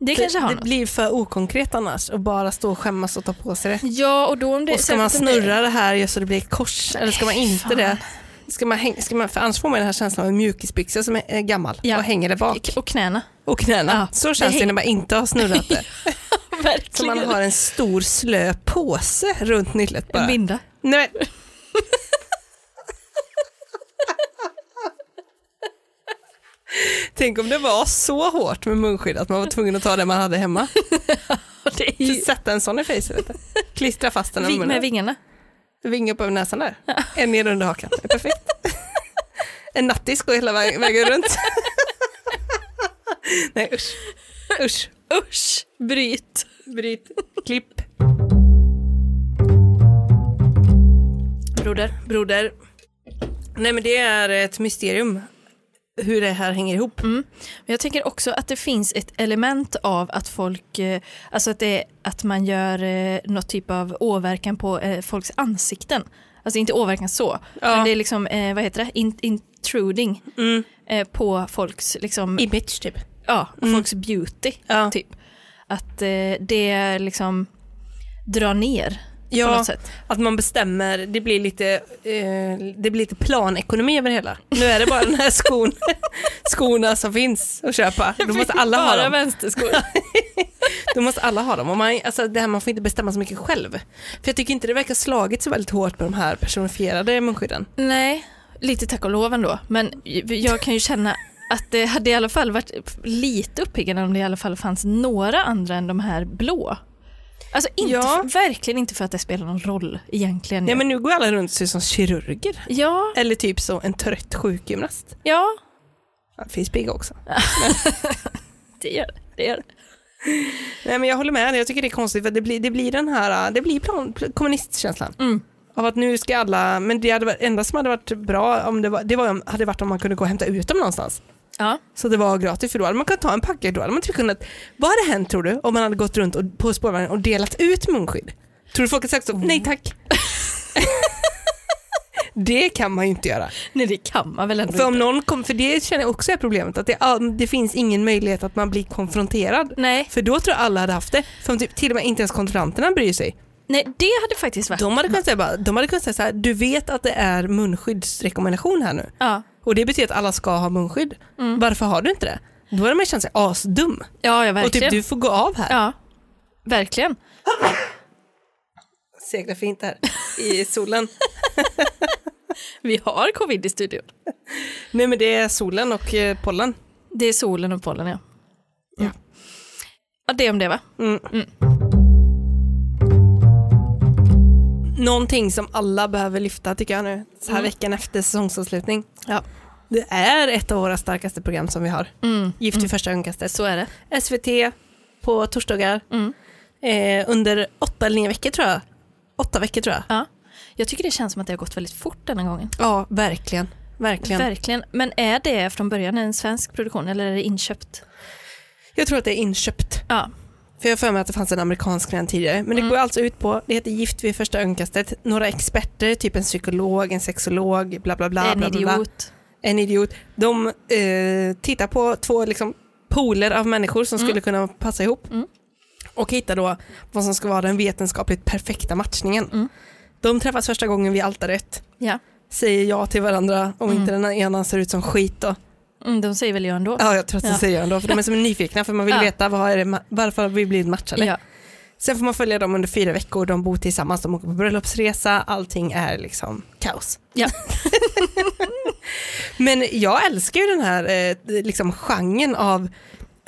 det kanske har det något. blir för okonkret annars och bara stå och skämmas och ta på sig det. Ja, och då om det... Och ska man särskilt om det- snurra det här just så det blir ett kors eller ska man Nej, inte fan. det? Ska man häng, ska man, för annars får man den här känslan av en mjukisbyxa som är eh, gammal Ja. och hänger där bak. Och knäna. Och knäna. Ja, så det känns det häng- när man inte har snurrat det. Som Verkligen. man har en stor slö påse runt nyllet bara. en binda. Nej, men- Tänk om det var så hårt med munskydd att man var tvungen att ta det man hade hemma. Och det är För ju- att sätta en sån i facet. vet du. Klistra fast den över Vi- med munnen. vingarna. Vinga upp över näsan där. En ner under hakan. Det är Perfekt. En nattis går hela vä- vägen runt. Nej usch. Usch. Usch, bryt. Bryt. Klipp. Broder. Broder. Nej men det är ett mysterium hur det här hänger ihop. Men jag tänker också att det finns ett element av att folk, eh, alltså att, det, är- att man gör eh, något typ av åverkan på eh, folks ansikten. Alltså inte åverkan så, Ja. men det är liksom, eh, vad heter det, In, intruding Mm. eh, på folks, liksom, Image typ. ja, folks beauty. Ja. Typ. Att eh, det liksom drar ner på Ja, något sätt. att man bestämmer, det blir, lite, eh, det blir lite planekonomi över det hela. Nu är det bara den här skon, skorna som finns att köpa. Då måste alla ha Bara dem. vänsterskor. Då måste alla ha dem. Och man, alltså det här, man får inte bestämma så mycket själv. För jag tycker inte det verkar slagit så väldigt hårt med de här personifierade munskydden. Nej, lite tack och lov ändå. Men jag kan ju känna att det hade i alla fall varit lite uppiggande om det i alla fall fanns några andra än de här blå. Alltså inte, Ja. verkligen inte för att det spelar någon roll egentligen. Nej men nu går alla runt sig som kirurger. Ja, Eller typ så en trött sjukgymnast. ja, Ja, det finns pigga också. det gör det, det. Gör. det. Nej men jag håller med, jag tycker det är konstigt för det blir, det blir den här, det blir plan, kommunistkänslan. Mm. Av att nu ska alla, men det hade varit, enda som hade varit bra om det, var, det var, ju om- hade varit om man kunde gå och hämta ut dem någonstans. Ja, Så det var gratis för då hade man kunnat ta en packe, då hade man typ kunnat, vad hade hänt tror du om man hade gått runt och, på spårvagnen och delat ut munskydd? Tror du folk hade sagt så, nej tack. det kan man ju inte göra. nej det kan man väl ändå För om inte. någon kom, för det känner jag också är problemet, att det, det finns ingen möjlighet att man blir konfronterad. Nej, För då tror jag alla hade haft det. För om typ, till och med inte ens kontrollanterna bryr sig. nej, det hade faktiskt varit... De hade kunnat säga, bara, de hade kunnat säga så här, du vet att det är munskyddsrekommendation här nu. Ja. Och det betyder att alla ska ha munskydd. Mm. Varför har du inte det? Då hade man känt sig asdum. ja, ja, Och typ verkligen. du får gå av här. Ja, verkligen. Segla fint här i solen. Vi har covid i studion. Nej men det är solen och eh, pollen. Det är solen och pollen, ja. Ja. ja, det om det va? Någonting som alla behöver lyfta tycker jag nu, så här veckan efter säsongsavslutning. Ja. Det är ett av våra starkaste program som vi har. Mm. Gift i första ögonkastet. Så är det. SVT på torsdagar. Mm. Eh, under åtta eller nio veckor tror jag. Åtta veckor tror jag. Ja. Jag tycker det känns som att det har gått väldigt fort denna gången. Ja, verkligen. Verkligen. Verkligen. Men är det från början en svensk produktion eller är det inköpt? jag tror att det är inköpt. Ja. För jag har för mig att det fanns en amerikansk gren tidigare. Men det går alltså ut på, det heter Gift vid första ögonkastet. Några experter, typ en psykolog, en sexolog, bla bla bla. en bla, bla, bla. idiot. En idiot. De eh, tittar på två liksom, pooler av människor som skulle kunna passa ihop Mm. och hittar då vad som ska vara den vetenskapligt perfekta matchningen. Mm. De träffas första gången vid altaret, Ja. säger ja till varandra om inte den ena ser ut som skit. Då. Mm, de säger väl jag ändå. Ja, jag tror att de Ja. säger ja ändå, för de är så nyfikna för man vill Ja. veta vad är det, ma- varför har vi blivit matchade. Ja. Sen får man följa dem under fyra veckor, de bor tillsammans, de åker på bröllopsresa, allting är liksom kaos. Ja. Men jag älskar ju den här eh, liksom genren av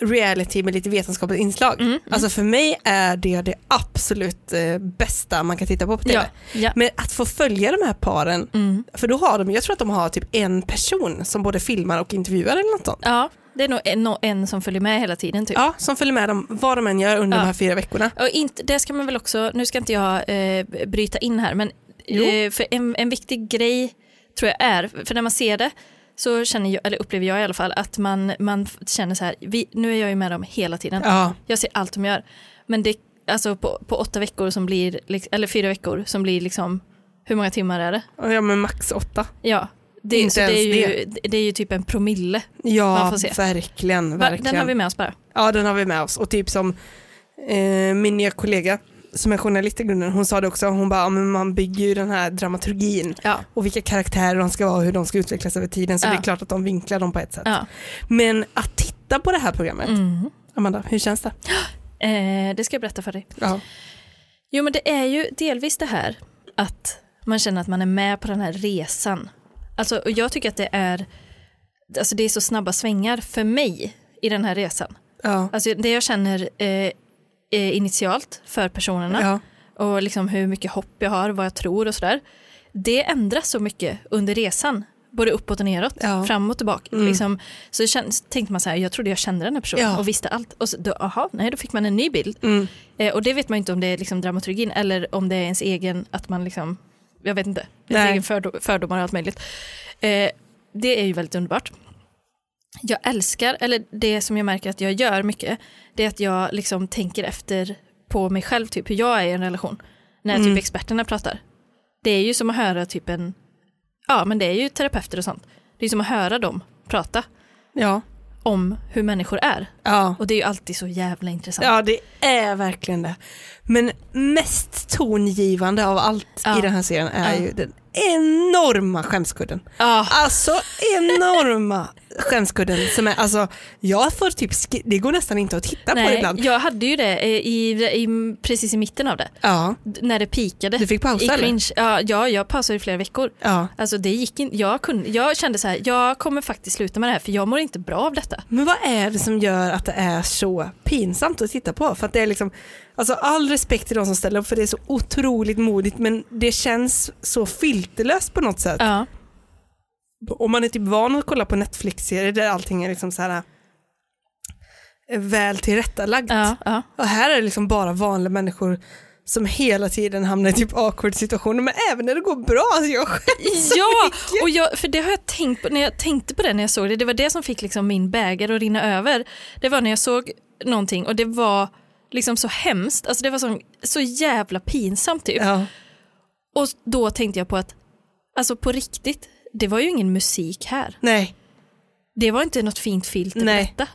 reality med lite vetenskapligt Mm. inslag. Alltså för mig är det det absolut eh, bästa man kan titta på på TV. Ja, ja. Mm. Men att få följa de här paren, för då har de, jag tror att de har typ en person som både filmar och intervjuar eller något sånt. Ja, det är nog en, nå- en som följer med hela tiden typ. Ja, som följer med dem vad de än gör under Ja. de här fyra veckorna. Och inte, det ska man väl också, nu ska inte jag eh, bryta in här, men Jo. eh, för en, en viktig grej tror jag är, för när man ser det så känner jag, eller upplever jag i alla fall, att man, man f- känner så här, vi, nu är jag ju med dem hela tiden. Ja. Jag ser allt de gör. Men det, alltså på, på åtta veckor som blir, liksom- eller fyra veckor som blir liksom, hur många timmar är det? ja, men max åtta. Ja, det, Inte så det, är ens ju, det. är ju typ en promille. Man Ja, får se. verkligen. Va, verkligen. den har vi med oss bara. Ja, den har vi med oss. Och typ som eh, min nya kollega som är journalist i grunden, hon sa det också, hon bara, "Ja, men man bygger ju den här dramaturgin Ja. och vilka karaktärer de ska vara och hur de ska utvecklas över tiden så Ja. det är klart att de vinklar dem på ett sätt. ja. Men att titta på det här programmet, Mm. Amanda, hur känns det? Eh, det ska jag berätta för dig. Ja. Jo men det är ju delvis det här att man känner att man är med på den här resan. Alltså, och jag tycker att det är, alltså det är så snabba svängar för mig i den här resan. Ja. Alltså det jag känner eh, eh, initialt för personerna Ja. och liksom hur mycket hopp jag har, vad jag tror och sådär. Det ändras så mycket under resan, både uppåt och neråt, Ja. Mm. fram och tillbaka. Liksom, så det känns, tänkte man så här, jag trodde jag kände den här personen Ja. och visste allt. Och så, då, aha, nej, då fick man en ny bild. Mm. Eh, och det vet man ju inte om det är liksom dramaturgin eller om det är ens egen, att man liksom, jag vet inte, ens Nej. egen fördom, fördomar och allt möjligt. Eh, det är ju väldigt underbart. Jag älskar, eller det som jag märker att jag gör mycket, det är att jag liksom tänker efter på mig själv, typ hur jag är i en relation. När Mm. typ experterna pratar. Det är ju som att höra typ en, ja men det är ju terapeuter och sånt. Det är som att höra dem prata Ja. om hur människor är. Ja. Och det är ju alltid så jävla intressant. ja, det är verkligen det. Men mest tongivande av allt Ja. i den här serien är Ja. ju den enorma skämskudden. Ah. Alltså enorma skämskudden som är, alltså jag får typ, skri- det går nästan inte att titta på ibland. Jag hade ju det eh, i, i, precis i mitten av det. Ja, D- När det pikade. Du fick pausa, I eller? cringe. Ja, ja, jag pausade i flera veckor. ja. Alltså det gick in, jag, kunde, jag kände så här, jag kommer faktiskt sluta med det här för jag mår inte bra av detta. Men vad är det som gör att det är så pinsamt att titta på? För att det är liksom, alltså all respekt till de som ställer upp för det är så otroligt modigt men det känns så filterlöst på något sätt. Ja, Om man är typ van att kolla på Netflix-serier där allting är liksom så här eh, väl tillrättalagt. ja, ja. Och här är det liksom bara vanliga människor som hela tiden hamnar i typ awkward situationer men även när det går bra. Alltså jag skäms så Ja, mycket. och jag, för det har jag tänkt på, när jag tänkte på det när jag såg det, det var det som fick liksom min bägare att rinna över. Det var när jag såg någonting och det var liksom så hemskt, alltså det var så, så jävla pinsamt typ. Ja. Och då tänkte jag på att, alltså på riktigt, det var ju ingen musik här. Nej, Det var inte något fint filter Nej. på detta.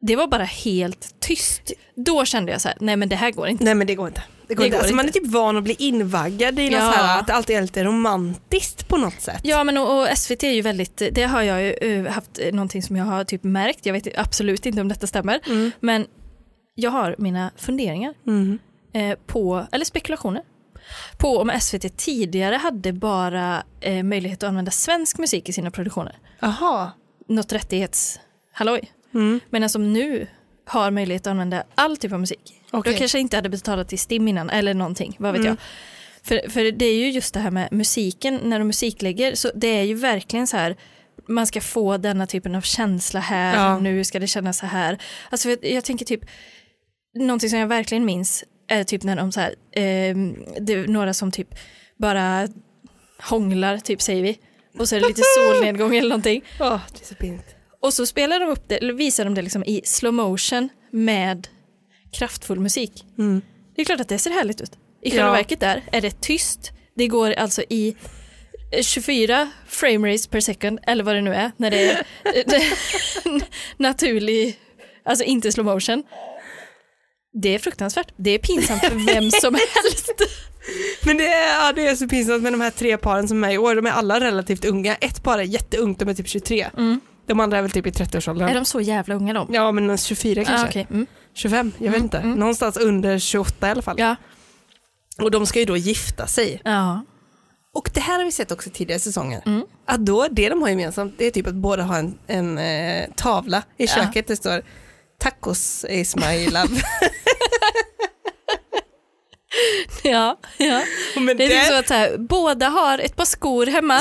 Det var bara helt tyst. Då kände jag så här, nej men det här går inte. nej men det går inte. Det går Det inte. går alltså, Man är inte. typ van att bli invaggad i Ja. något så här, att det alltid är lite romantiskt på något sätt. Ja men och, och SVT är ju väldigt, det har jag ju eh, haft eh, någonting som jag har typ märkt, jag vet absolut inte om detta stämmer, men jag har mina funderingar Mm. eh, på, eller spekulationer, på om SVT tidigare hade bara eh, möjlighet att använda svensk musik i sina produktioner. Aha. något rättighetshalloj. Mm. Men som nu har möjlighet att använda all typ av musik. Okej. Mm. Då kanske jag inte hade betalat till STIM innan eller någonting, vad vet jag. För, för det är ju just det här med musiken, när du musiklägger, så det är ju verkligen så här, man ska få denna typen av känsla här, Ja. nu ska det kännas så här. Alltså jag, jag tänker typ, någonting som jag verkligen minns är typ när de så här, ehm, det är några som typ bara hånglar, typ säger vi. Och så är det lite solnedgång eller någonting. Åh, det är så pinigt. Och så spelar de upp det, eller visar de det liksom i slow motion med kraftfull musik. Mm. Det är klart att det ser härligt ut. I själva Ja. verket där är det tyst. Det går alltså i eh, 24 frame rates per second, eller vad det nu är, när det är eh, det- naturlig, alltså inte slow motion. Det är fruktansvärt. Det är pinsamt för vem som helst. Men det är, ja, det är så pinsamt med de här tre paren som är med i år, de är alla relativt unga. Ett par är jätteungt, de är typ 23. De andra är väl typ i 30-årsåldern. Mm. Är de så jävla unga de? Ja men 24 kanske, Ah, okej. mm. 25, jag vet inte. Någonstans under 28 i alla fall. Ja. Och de ska ju då gifta sig. Ja. Och det här har vi sett också i tidigare säsonger. Mm. Att då, det de har gemensamt det är typ att båda har en, en eh, tavla i köket. Det står tacos is my love. Ja, ja. Men Det är typ där- så att så här, båda har ett par skor hemma.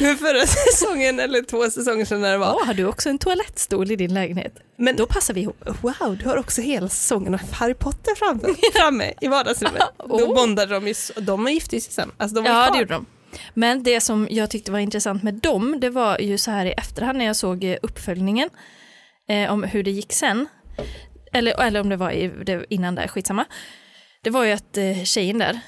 Men förra säsongen, eller två säsonger sedan när det var. Åh, har du också en toalettstol i din lägenhet? Men Då passar vi ihop. wow, du har också hela säsongen av Harry Potter framme, framme i vardagsrummet. Då Oh. bondade de ju, så- de gifte ju sig sen. Alltså de var Ja, kvar. det gjorde de. Men det som jag tyckte var intressant med dem, det var ju så här i efterhand när jag såg eh, uppföljningen eh, om hur det gick sen. Eller, eller om det var i, det, innan där, skitsamma. Det var ju att eh, tjejen där,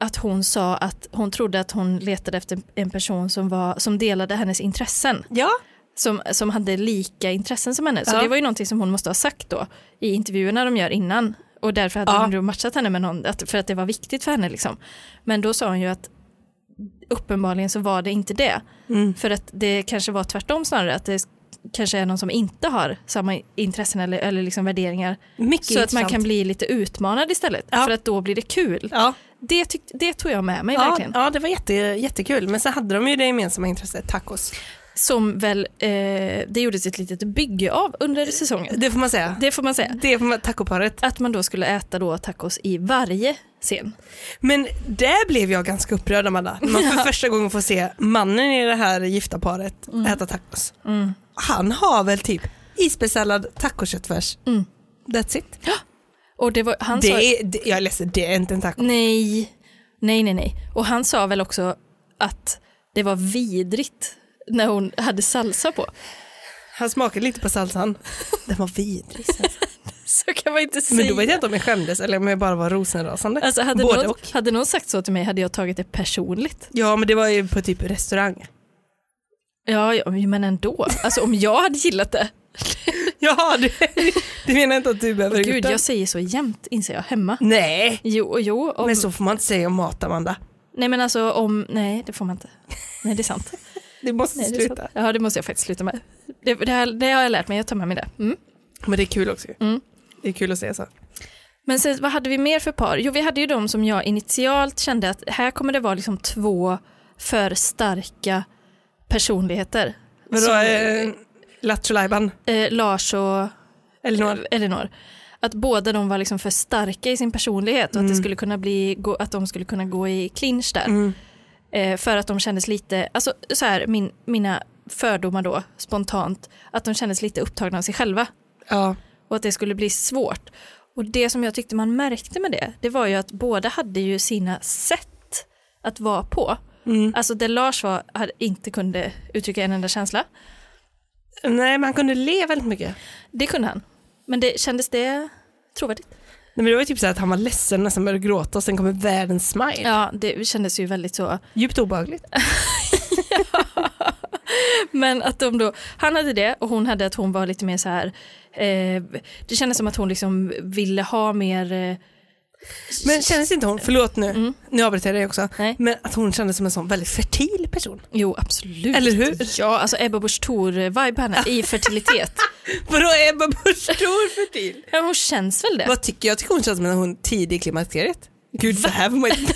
att hon sa att hon trodde att hon letade efter en person som, var, som delade hennes intressen. Ja, Som, som hade lika intressen som henne. Så Ja. det var ju någonting som hon måste ha sagt då i intervjuerna de gör innan. Och därför hade Ja. hon då matchat henne med någon, att, för att det var viktigt för henne. Liksom. Men då sa hon ju att uppenbarligen så var det inte det. För att det kanske var tvärtom snarare, att det s- kanske är någon som inte har samma intressen eller, eller liksom värderingar. mycket Så att man intressant. kan bli lite utmanad istället, Ja. för att då blir det kul. Ja, Det, tyck, det tog jag med mig ja, verkligen. ja det var jätte, jättekul. Men sen hade de ju det gemensamma intresset, tacos. Som väl, eh, det gjordes ett litet bygge av under säsongen. Det får man säga. Det får man säga. Det får man, tacoparet. Att man då skulle äta då tacos i varje scen. Men där blev jag ganska upprörd Amanda. När Man för första gången får se mannen i det här gifta paret Mm. äta tacos. Han har väl typ isbergssallad, tacoköttfärs. Mm. That's it. Och det var, han sa, Det är, det, jag är ledsen, det är inte en taco. nej, nej, nej, nej. Och han sa väl också att det var vidrigt när hon hade salsa på. Han smakade lite på salsan. Den var vidrig. salsa. Så kan man inte säga. Men då vet jag inte om jag skämdes eller om jag bara var rosenrasande. Alltså hade Både någon, och. hade någon sagt så till mig hade jag tagit det personligt. Ja men det var ju på typ restaurang. Ja, ja men ändå. Alltså om jag hade gillat det. Jaha, du, du menar inte att du behöver gjort Gud, det? jag säger så jämt inser jag hemma. Nej, Jo, jo. Om, men så får man inte säga om mat Amanda. Nej men alltså om, nej det får man inte. Nej det är sant. Du måste Nej, det är sluta. sant. Ja, det måste jag faktiskt sluta med. Det, det, här, det har jag lärt mig, jag tar med mig det. Mm. Men det är kul också ju. Mm. Det är kul att alltså. säga så. Men sen, vad hade vi mer för par? Jo, vi hade ju de som jag initialt kände att här kommer det vara liksom två för starka personligheter. Vadå, Som, eh, Lattjo Lajban? eh, Lars och Elinor? Elinor. Att båda de var liksom för starka i sin personlighet och att, Mm. det skulle kunna bli, gå, att de skulle kunna gå i clinch där. Eh, för att de kändes lite, alltså så här, min, mina fördomar då spontant, att de kändes lite upptagna av sig själva. Ja. och att det skulle bli svårt. Och det som jag tyckte man märkte med det, det var ju att båda hade ju sina sätt att vara på. Mm. Alltså där Lars var, hade, inte kunde uttrycka en enda känsla, Nej, men han kunde le väldigt mycket. det kunde han. Men det kändes det trovärdigt? Nej, men det var ju typ så här att han var ledsen, nästan började gråta och sen kommer världens smile. Ja, Alltså, det kändes ju väldigt så. Djupt obehagligt. Men att de då, han hade det och hon hade att hon var lite mer så här, eh, det kändes som att hon liksom ville ha mer, eh, Men kändes inte hon, förlåt nu, nu avbryter jag dig också, Mm. Nej. men att hon kändes som en sån väldigt fertil person. jo absolut. Eller hur? Ja, alltså Ebba Busch Thor-vibe henne i fertilitet. Vadå Ebba Busch Thor fertil? Ja, hon känns väl det? Vad tycker jag? Jag tycker hon känns som en hon tidig i klimakteriet. Gud, så här får man inte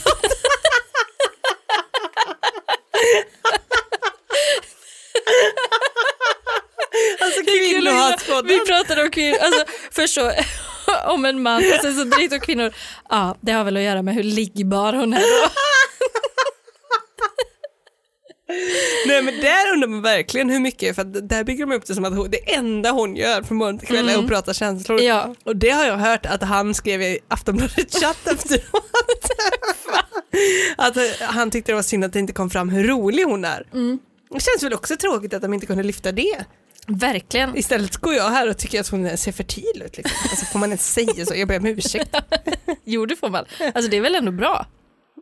Alltså kvinnohatspodden. Vi pratade om kvinnor, alltså först så om en man och sen så direkt om kvinnor. Ja, det har väl att göra med hur liggbar hon är då. Nej men där undrar man verkligen hur mycket, för att där bygger de upp det som att hon, det enda hon gör från morgon till kväll är att prata känslor. Ja. Och det har jag hört att han skrev i Aftonbladet chatt efteråt. att eh, han tyckte det var synd att det inte kom fram hur rolig hon är. Det känns väl också tråkigt att de inte kunde lyfta det. Verkligen. Istället går jag här och tycker att hon ser fertil ut. Liksom. Alltså, får man inte säga så? Jag ber om ursäkt. Jo, det får man. Alltså det är väl ändå bra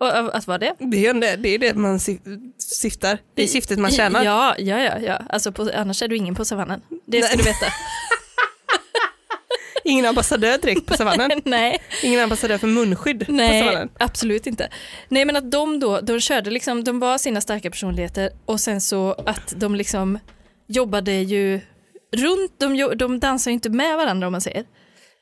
och, och, att vara det. Det är ju det, det, är det man sy- syftar. Det är syftet man tjänar. Ja, ja, ja. ja. Alltså på, annars är du ingen på savannen. Det ska Nej. du veta. Ingen ambassadör direkt på savannen. Nej. Ingen ambassadör för munskydd på Nej, savannen. absolut inte. Nej, men att de då, de körde liksom, de var sina starka personligheter och sen så att de liksom jobbade ju runt, de, jo- de dansar ju inte med varandra om man säger.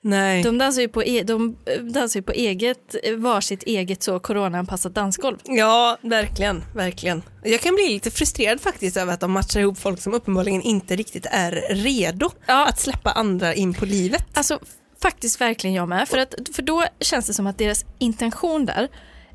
Nej. De dansar ju på, e- de eh, dansar ju på eget, eh, varsitt eget så coronaanpassat dansgolv. Ja, verkligen, verkligen. Jag kan bli lite frustrerad faktiskt över att de matchar ihop folk som uppenbarligen inte riktigt är redo Ja. att släppa andra in på livet. Alltså faktiskt verkligen jag med. För, att, för då känns det som att deras intention där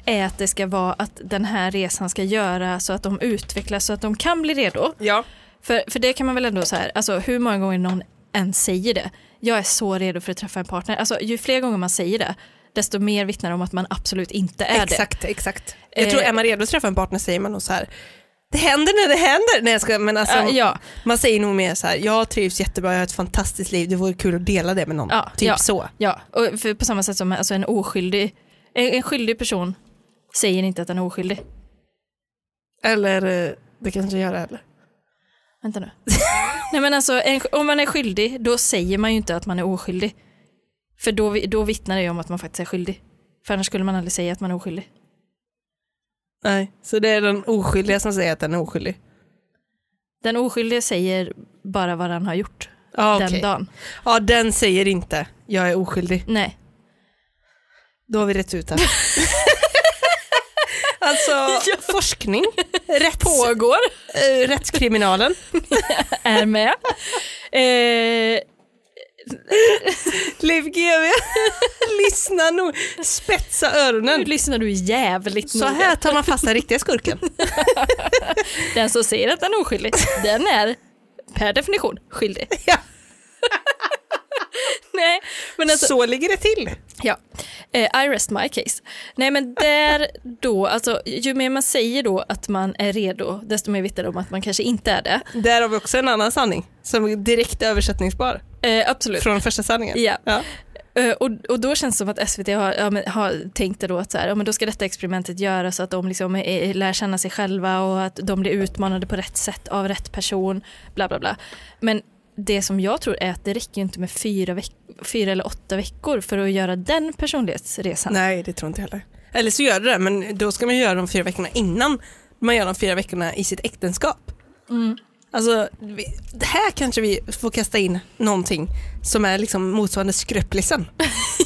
är att det ska vara att den här resan ska göra så att de utvecklas så att de kan bli redo. Ja. För, för det kan man väl ändå så här, alltså hur många gånger någon än säger det, jag är så redo för att träffa en partner. Alltså ju fler gånger man säger det, desto mer vittnar det om att man absolut inte är det. Exakt, exakt. Jag Eh. tror är man redo att träffa en partner säger man nog så här, det händer när det händer. Nej jag ska, men alltså, Ja, ja. Man säger nog mer så här, jag trivs jättebra, jag har ett fantastiskt liv, det vore kul att dela det med någon. Ja, typ ja. så. Ja, och för på samma sätt som alltså en oskyldig, en, en skyldig person säger inte att den är oskyldig. Eller eh, det kanske jag gör heller. Vänta nu. Nej men alltså, en, om man är skyldig, då säger man ju inte att man är oskyldig. För då, vi- då vittnar det ju om att man faktiskt är skyldig. För annars skulle man aldrig säga att man är oskyldig. Nej, så det är den oskyldiga som säger att den är oskyldig. Den oskyldige säger bara vad han har gjort Ja, okej. den dagen. Ja, den säger inte, jag är oskyldig. Nej. Då har vi rätt ut det. alltså, forskning, rätts, Pågår. eh, rättskriminalen. Är med. Eh, Liv GW, lyssna nu, spetsa nu öronen. lyssnar du jävligt Så noga. här tar man fast den riktiga skurken. Den som säger att den är oskyldig, den är per definition skyldig. Ja. Nej, men alltså, Så ligger det till. ja. Eh, I rest my case. Nej men där då, alltså ju mer man säger då att man är redo, desto mer vittnar det om att man kanske inte är det. Där har vi också en annan sanning som är direkt översättningsbar Eh, absolut. från första sanningen. Ja. Ja. Eh, och, och då känns det som att SVT har, ja, men, har tänkt det då att så här, ja, men då ska detta experimentet göras så att de liksom, eh, lär känna sig själva och att de blir utmanade på rätt sätt av rätt person. Bla, bla, bla. Men det som jag tror är att det räcker ju inte med fyra, veck- fyra eller åtta veckor för att göra den personlighetsresan. Nej, det tror inte jag heller. Eller så gör du det, men då ska man göra de fyra veckorna innan man gör de fyra veckorna i sitt äktenskap. Mm. Alltså, vi- det här kanske vi får kasta in någonting som är liksom motsvarande skröplisen.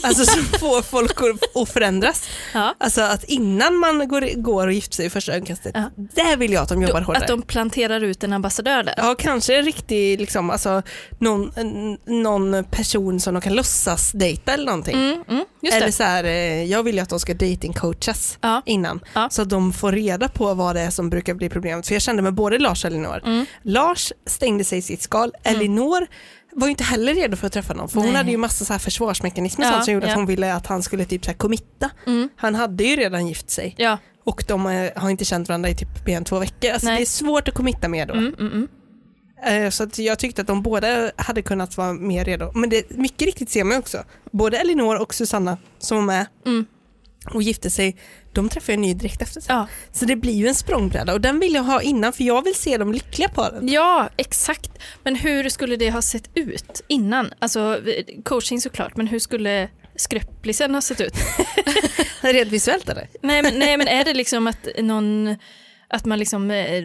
Alltså som får folk att- att förändras. Ja. Alltså att innan man går, går och gifter sig i första ögonkastet, Ja. där vill jag att de jobbar Då, hårdare. att de planterar ut en ambassadör där. Ja, kanske en riktig, liksom, alltså, någon, en- någon person som de kan låtsas dejta eller någonting. Mm, mm, just Eller det. så här, eh, jag vill ju att de ska datingcoachas Ja. innan. Ja. Så att de får reda på vad det är som brukar bli problemet. För jag kände med både Lars och Elinor. Mm. Lars stängde sig i sitt skal. Elinor var ju inte heller redo för att träffa någon. För hon Nej. hade ju massa så här försvarsmekanismer Ja, sånt som gjorde att ja. Mm. hon ville att han skulle typ så här committa. Han hade ju redan gift sig. Ja. Och de eh, har inte känt varandra i typ mer än två veckor. Alltså Nej. det är svårt att committa med då. Mm, mm, mm. Eh, Så att jag tyckte att de båda hade kunnat vara mer redo. Men det, mycket riktigt ser man också. Både Elinor och Susanna som var med Mm. och gifte sig, de träffade en ny direkt efter sig. Ja. Så det blir ju en språngbräda och den vill jag ha innan för jag vill se de lyckliga paren. Ja, exakt. Men hur skulle det ha sett ut innan? Alltså vi- coaching såklart, men hur skulle skröplisen ha sett ut? Rent visuellt eller? nej, men, nej, men är det liksom att någon att man liksom eh,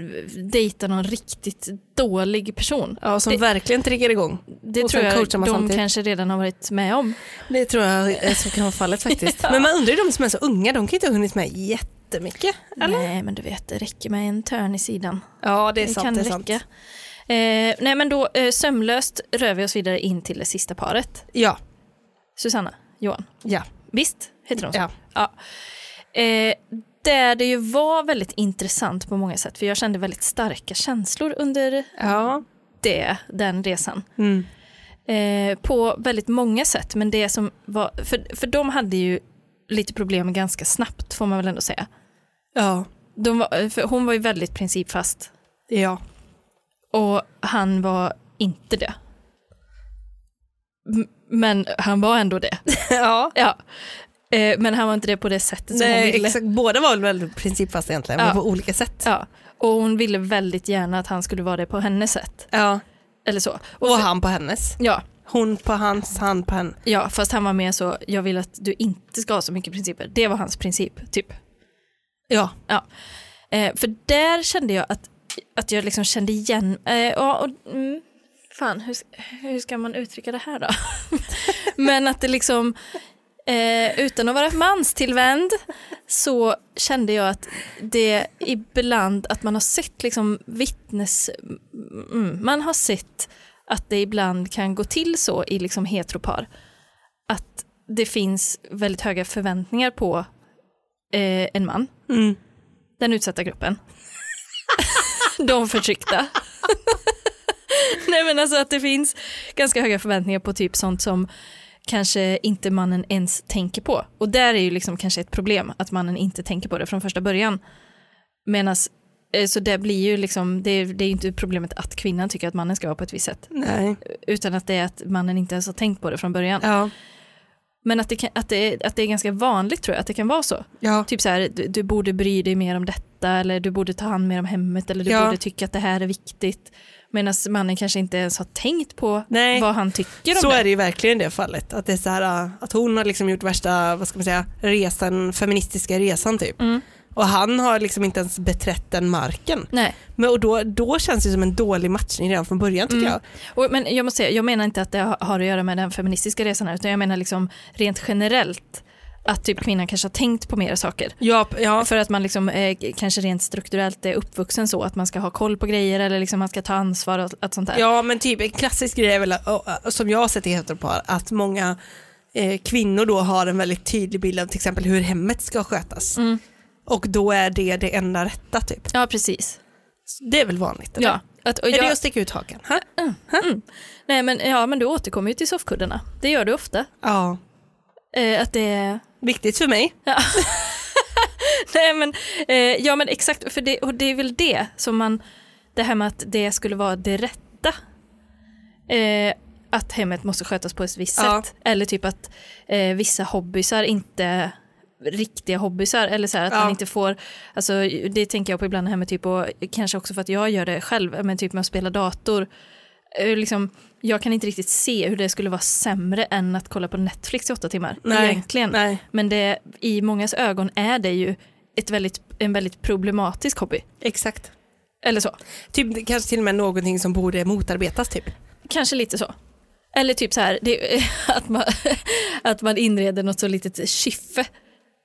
dejtar någon riktigt dålig person? Ja, som Det- verkligen triggar igång. Det Och tror sen jag coachar de man samtidigt. kanske redan har varit med om. Det tror jag är så kan vara fallet faktiskt. Men man undrar ju de som är så unga, de kan ju inte ha hunnit med jättemycket. Nej, men du vet, det räcker med en törn i sidan. Ja, det är Det sant. kan det är sant. räcka. Eh, nej, men då eh, sömlöst rör vi oss vidare in till det sista paret. Ja, Susanna, Johan. ja, Visst heter de så? ja. Ja. Eh, där det ju var väldigt intressant på många sätt, för jag kände väldigt starka känslor under ja. det, den resan. Mm. Eh, på väldigt många sätt, men det som var, för, för de hade ju lite problem ganska snabbt får man väl ändå säga. ja. De var, för hon var ju väldigt principfast ja. och han var inte det. M- Men han var ändå det. ja. Ja. Eh, men han var inte det på det sättet som hon Nej, ville. exakt. Båda var väl väldigt principfasta egentligen, men Ja. på olika sätt. Ja, och hon ville väldigt gärna att han skulle vara det på hennes sätt. Ja. Eller så. Och han på hennes. Ja, Hon på hans, han på henne. ja, fast han var mer så, jag vill att du inte ska ha så mycket principer. Det var hans princip, typ. Ja. Ja. Eh, för där kände jag att, att jag liksom kände igen, eh, ja, och, mm, fan hur, hur ska man uttrycka det här då? Men att det liksom, eh, utan att vara manstillvänd, så kände jag att det ibland, att man har sett liksom vittnes, mm, man har sett att det ibland kan gå till så i liksom heteropar. Att det finns väldigt höga förväntningar på eh, en man, Mm. den utsatta gruppen. De förtryckta. Nej men alltså att det finns ganska höga förväntningar på typ sånt som kanske inte mannen ens tänker på. Och där är ju liksom kanske ett problem att mannen inte tänker på det från första början. Medans, eh, så det blir ju liksom, det, det är ju inte problemet att kvinnan tycker att mannen ska vara på ett visst sätt. Nej. Utan att det är att mannen inte ens har tänkt på det från början. Ja. Men att det, kan, att, det, är- att det är ganska vanligt tror jag, att det kan vara så. Ja. Typ så här, du, du borde bry dig mer om detta eller du borde ta hand mer om hemmet eller du Ja. borde tycka att det här är viktigt. Medan mannen kanske inte ens har tänkt på Nej. vad han tycker om Så det. är det ju verkligen i det fallet. Att, det är så här, äh, att hon har liksom gjort värsta vad ska man säga, resan, feministiska resan typ. Och han har liksom inte ens beträtt den marken. Nej. Men, och då, då känns det som en dålig matchning redan från början tycker jag. Och, men jag måste säga, jag menar inte att det har- har att göra med den feministiska resan här, utan jag menar liksom rent generellt att typ kvinnan kanske har tänkt på mer saker. Ja, p- ja. För att man liksom, eh, kanske rent strukturellt är uppvuxen så att man ska ha koll på grejer eller liksom man ska ta ansvar och allt sånt där. ja men typ en klassisk grej är väl, äh, äh, som jag har sett i heteropar, att många eh, kvinnor då har en väldigt tydlig bild av till exempel hur hemmet ska skötas. Mm. Och då är det det enda rätta typ. Ja, precis. Det är väl vanligt? Eller? Ja. Att, och Är det jag, att sticka ut hakan? Ha? nej, men, ja, men du återkommer ju till soffkuddarna. Det gör du ofta. Ja. Eh, att det är... Viktigt för mig. Nej, men, eh, ja, men exakt. För det, och det är väl det som man... Det här med att det skulle vara det rätta. Eh, att hemmet måste skötas på ett visst Ja. sätt. Eller typ att eh, vissa hobbysar inte riktiga hobbysar eller så här att Ja. man inte får, alltså det tänker jag på ibland här med typ och kanske också för att jag gör det själv, men typ med att spela dator, eh, liksom, jag kan inte riktigt se hur det skulle vara sämre än att kolla på Netflix i åtta timmar Nej, egentligen. nej. Men det, i mångas ögon är det ju ett väldigt, en väldigt problematisk hobby. Exakt. Eller så. Typ, kanske till och med någonting som borde motarbetas typ. Kanske lite så. Eller typ så här, det, att, man, att man inreder något så litet kyffe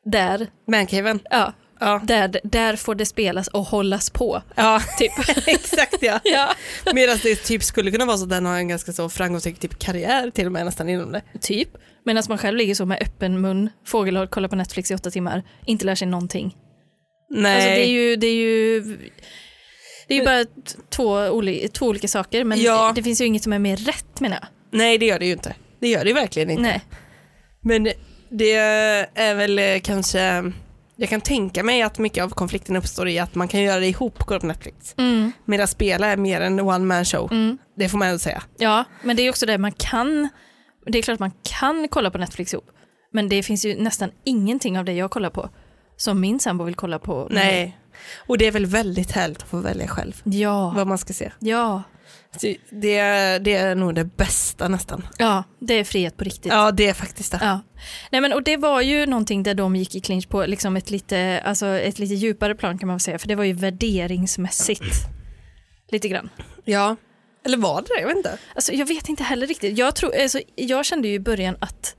där, Mancaven. ja, Ja. där, där får det spelas och hållas på. Ja, Typ. exakt ja. ja. Medan det typ skulle kunna vara så att den har en ganska så framgångsrik typ karriär till och med nästan inom det. Typ. Medan man själv ligger så med öppen mun, fågelholk, kollar på Netflix i åtta timmar, inte lär sig någonting. Nej. Alltså det är ju, det är ju, det är ju bara t- två, oli- två olika saker men Ja. det finns ju inget som är mer rätt menar jag. Nej det gör det ju inte. Det gör det ju verkligen inte. Nej. Men det är väl eh, kanske, jag kan tänka mig att mycket av konflikten uppstår i att man kan göra det ihop, kolla på Netflix. Mm. Medan spela är mer en one man show. Det får man ändå säga. Ja, men det är ju också det man kan, det är klart man kan kolla på Netflix ihop men det finns ju nästan ingenting av det jag kollar på som min sambo vill kolla på. med mig. Nej. Och det är väl väldigt härligt att få välja själv Ja, vad man ska se. ja, Så Det, är- det är nog det bästa nästan. ja, det är frihet på riktigt. Ja, det är faktiskt det. Ja. Nej, men, och det var ju någonting där de gick i clinch på liksom ett, lite, alltså, ett lite djupare plan kan man väl säga, för det var ju värderingsmässigt. Lite grann. Ja. Eller var det det? Jag vet inte. Alltså, jag vet inte heller riktigt. Jag, tror, alltså, jag kände ju i början att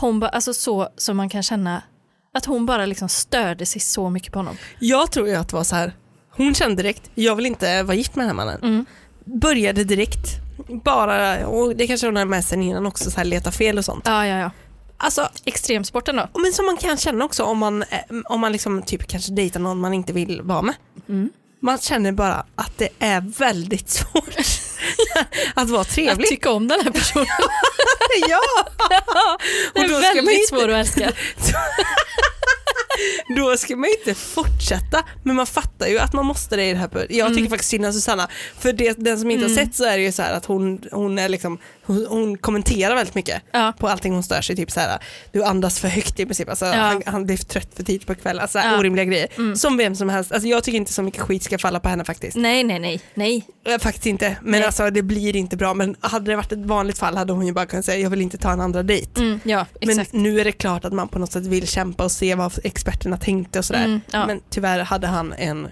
hon bara, alltså så som man kan känna, att hon bara liksom störde sig så mycket på honom. Jag tror ju att det var så här. Hon kände direkt, jag vill inte vara gift med den här mannen. Började direkt. Bara, och det kanske hon hade med sig innan också, så här, leta fel och sånt. Ja, ja, ja. Alltså, Extremsporten då? men som man kan känna också om man, eh, om man liksom typ kanske dejtar någon man inte vill vara med. Man känner bara att det är väldigt svårt att vara Att trevlig. tycka om den här personen. ja! Det Och då är ska man väldigt inte- svår att älska. Då ska man ju inte fortsätta, men man fattar ju att man måste det i det här. Jag tycker Mm. faktiskt synd om Susanna, för det, den som inte har sett så är det ju så här att hon, hon, är liksom, hon, hon kommenterar väldigt mycket Ja. på allting hon stör sig typ så här, du andas för högt i princip, alltså, han, han blir trött för tidigt på kvällen, alltså, Ja. Mm. orimliga grejer. Som vem som helst, alltså, jag tycker inte så mycket skit ska falla på henne faktiskt. Nej, nej, nej, nej. Eh, Faktiskt inte, men alltså, det blir inte bra. Men hade det varit ett vanligt fall hade hon ju bara kunnat säga jag vill inte ta en andra dejt. Mm, ja, Men exakt. nu är det klart att man på något sätt vill kämpa och se vad experterna tänkte och sådär. Mm, ja. Men tyvärr hade han en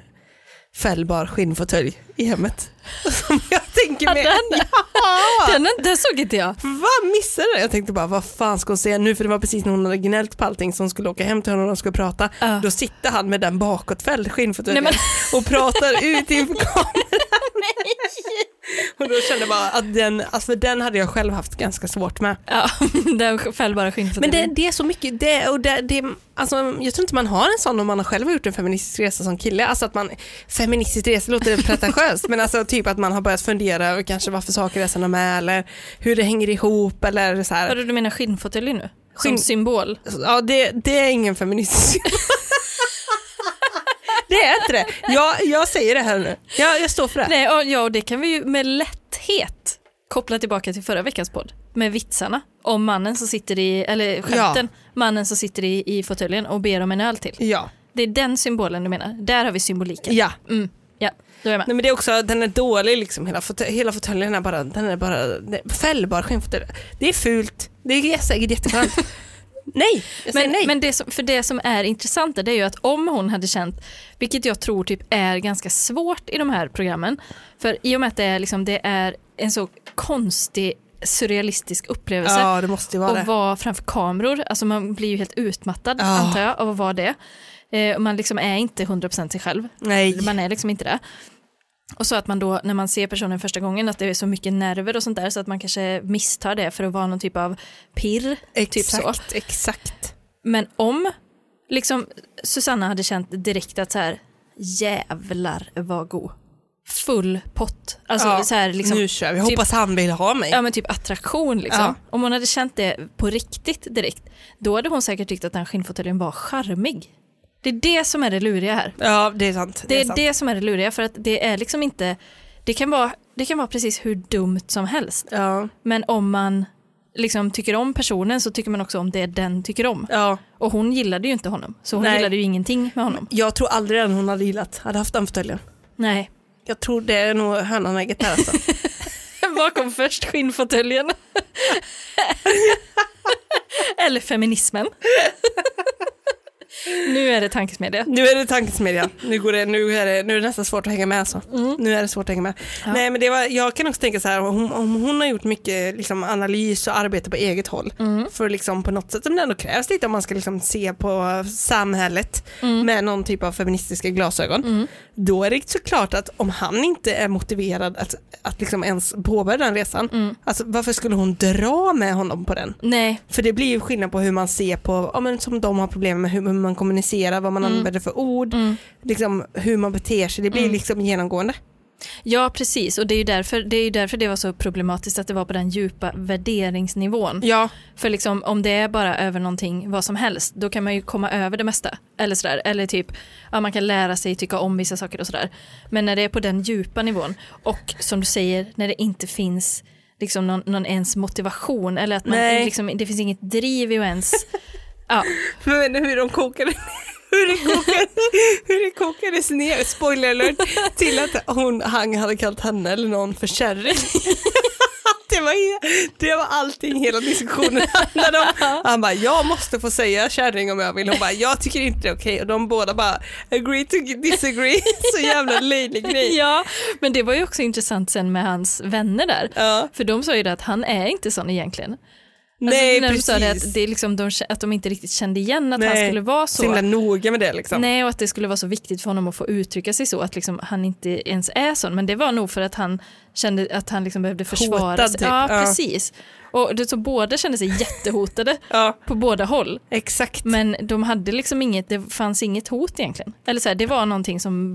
fällbar skinnfåtölj i hemmet. Som jag tänker Ja, med. den. Ja! Den, den såg inte jag. Vad missade jag? Jag tänkte bara, vad fan ska hon säga nu? För det var precis när hon hade gnällt på allting så hon skulle åka hem till honom och de skulle prata. Ja. Då sitter han med den bakåtfälld skinnfåtöljen Nej, och pratar ut inför kameran. och då kände jag bara att den, alltså för den hade jag själv haft ganska svårt med. Ja, den föll bara Men skinnfåtöljen. det, det är så mycket, det, och det, det, alltså, jag tror inte man har en sån om man har själv gjort en feministisk resa som kille. Alltså att man, feministisk resa låter pretentiöst men alltså typ att man har börjat fundera över kanske varför saker är som de är eller hur det hänger ihop eller så här. Vadå, du menar skinnfåtölj nu? Som Skinn- symbol? Ja, det, det är ingen feministisk. det är inte det. Jag, jag säger det här nu. Jag, jag står för det. Nej, och, ja, och det kan vi ju med lätthet koppla tillbaka till förra veckans podd med vitsarna om mannen som sitter i, eller skämten, mannen som sitter i, i fåtöljen och ber om en öl till. Ja. Det är den symbolen du menar. Där har vi symboliken. ja. Mm, ja, då är jag med. Nej, men det är också, den är dålig liksom. Hela, fåtö- hela fåtöljen är bara, den är bara det- fällbar skinnfåtölj. Det är fult. Det är säkert jätteskönt. nej, jag säger Men, nej. men det, som, för det som är intressant det är ju att om hon hade känt, vilket jag tror typ är ganska svårt i de här programmen, för i och med att det är, liksom, det är en så konstig surrealistisk upplevelse ja, det måste ju vara och det. Ah. vara framför kameror, alltså man blir ju helt utmattad Ja. antar jag av att vara det. Eh, och man liksom är inte 100% sig själv, Nej. man är liksom inte det. Och så att man då, när man ser personen första gången, att det är så mycket nerver och sånt där så att man kanske misstar det för att vara någon typ av pirr. typ så. Exakt, exakt. Men om liksom, Susanna hade känt direkt att så här, jävlar vad god. Full pott. Alltså Ja, så här, liksom, nu kör vi. typ- Hoppas han vill ha mig. Ja men typ attraktion liksom. Ja. Om hon hade känt det på riktigt direkt, då hade hon säkert tyckt att den skinnfåtöljen var charmig. Det är det som är det luriga här. Ja, det är sant. Det är sant. det som är det luriga för att det är liksom inte, det kan vara, det kan vara precis hur dumt som helst. Ja. Men om man liksom tycker om personen så tycker man också om det den tycker om. ja. Och hon gillade ju inte honom, så hon Nej. gillade ju ingenting med honom. Jag tror aldrig den hon hade gillat hade haft den fåtöljen. Nej. Jag tror det är nog hönan och ägget här alltså. Vad kom först, skinnfåtöljen? Eller feminismen? nu är det tankesmedja. Nu är det tankesmedjan. Nu, går det, nu, är det, nu är det nästan svårt att hänga med alltså. Nu är det svårt att hänga med. Ja. Nej men det var, jag kan också tänka så här, om, om hon har gjort mycket liksom, analys och arbete på eget håll för liksom på något sätt som det ändå krävs lite om man ska liksom se på samhället med någon typ av feministiska glasögon. Då är det såklart att om han inte är motiverad att, att liksom ens påbörja den resan, alltså, varför skulle hon dra med honom på den? Nej, För det blir ju skillnad på hur man ser på, ja, men som de har problem med, hur hur man kommunicerar, vad man använder för ord, liksom, hur man beter sig. Det blir liksom genomgående. ja precis. Och det är ju därför det, är ju därför det var så problematiskt att det var på den djupa värderingsnivån. Ja, För liksom, om det är bara över någonting, vad som helst, då kan man ju komma över det mesta. Eller sådär. Eller typ, ja, man kan lära sig tycka om vissa saker och sådär. Men när det är på den djupa nivån och som du säger, när det inte finns liksom någon, någon ens motivation eller att man Nej. liksom, det finns inget driv i att ens... ja, men vet ni hur de kokade? Hur det, kokade, hur det kokades ner, spoiler alert, till att hon, han hade kallat henne eller någon för kärring. Det var, he- det var allting hela diskussionen handlade om. Han bara, jag måste få säga kärring om jag vill. Hon bara, jag tycker inte det är okej. Och de båda bara, agree to disagree. Så jävla löjlig grej. ja, men det var ju också intressant sen med hans vänner där. Ja. För de sa ju det att han är inte sån egentligen. Alltså, Nej, när precis. de sa det att, det är liksom de, att de inte riktigt kände igen att han Nej, skulle vara så. Så himla noga med det liksom. Nej, och att det skulle vara så viktigt för honom att få uttrycka sig så, att liksom han inte ens är sån. Men det var nog för att han kände att han liksom behövde försvara Hotad, sig. typ. Ja, Ja. precis. Och det, så båda kände sig jättehotade Ja, på båda håll. exakt. Men de hade liksom inget, det fanns inget hot egentligen. Eller så här, det var någonting som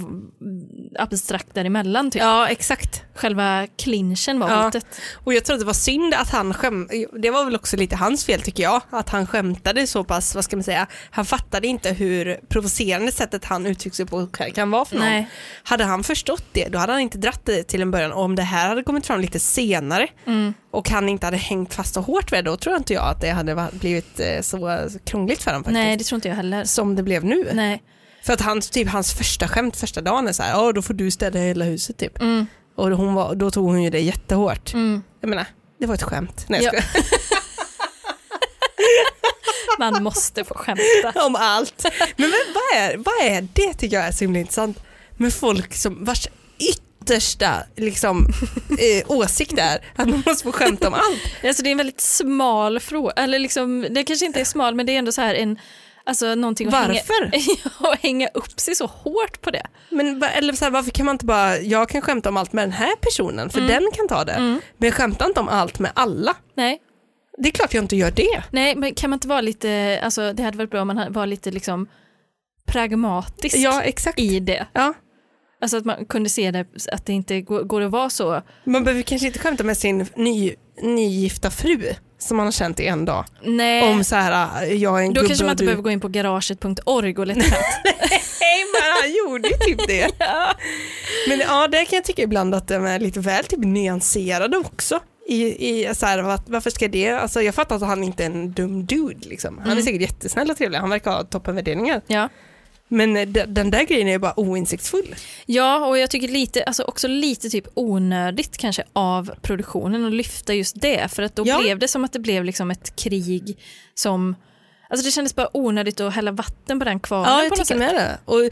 abstrakt däremellan typ. Ja, exakt. Själva clinchen var Ja. hotet. Och jag tror att det var synd att han skäm... det var väl också lite hans fel tycker jag, att han skämtade så pass, vad ska man säga, han fattade inte hur provocerande sättet han uttryckte sig på kan vara för någon. Nej. Hade han förstått det, då hade han inte dratt det till en början. Och om det här hade kommit fram lite senare Mm. och han inte hade hängt fast så hårt vid det, då tror inte jag att det hade va- blivit eh, så krångligt för honom faktiskt. Nej, det tror inte jag heller. Som det blev nu. Nej. För att han, typ, hans första skämt första dagen är så här, "Ja, då får du städa hela huset typ. Mm. Och hon var, då tog hon ju det jättehårt. Mm. Jag menar, det var ett skämt. Nej, Ja. jag skojar. Man måste få skämta. Om allt. Men, men vad, är, vad är det tycker jag är så himla intressant. med folk som vars yttersta liksom, eh, åsikt är att man måste få skämta om allt. Alltså det är en väldigt smal fråga, eller liksom, det kanske inte är smal men det är ändå så här en, alltså någonting att Varför? Hänga, ja, att hänga upp sig så hårt på det. Men, va- eller så här, varför kan man inte bara, jag kan skämta om allt med den här personen Mm. för den kan ta det. Men skämta inte om allt med alla. Nej, Det är klart jag inte gör det. nej men kan man inte vara lite, alltså det hade varit bra om man var lite liksom pragmatisk Ja, exakt. i det. Ja. Alltså att man kunde se det, att det inte går, går att vara så. Man behöver kanske inte skämta med sin ny, nygifta fru som man har känt i en dag. Nej, Om så här, äh, jag är en Eh. då gubbe kanske man och inte du... behöver gå in på garaget.org och leta skämt. Nej, men han gjorde ju typ det. Men ja, det kan jag tycka ibland att de är lite väl typ nyanserade också. I, i, så här, vad- varför ska det, alltså jag fattar att han inte är en dum dude liksom. Han är Mm. säkert jättesnäll och trevlig, han verkar ha toppenvärderingar. Ja. Men eh, de- den där grejen är ju bara oinsiktsfull. ja, och jag tycker lite, alltså också lite typ onödigt kanske av produktionen att lyfta just det. För att då Ja. blev det som att det blev liksom ett krig som, alltså det kändes bara onödigt att hälla vatten på den kvarnen Ja, jag på något tycker sätt. med det. Och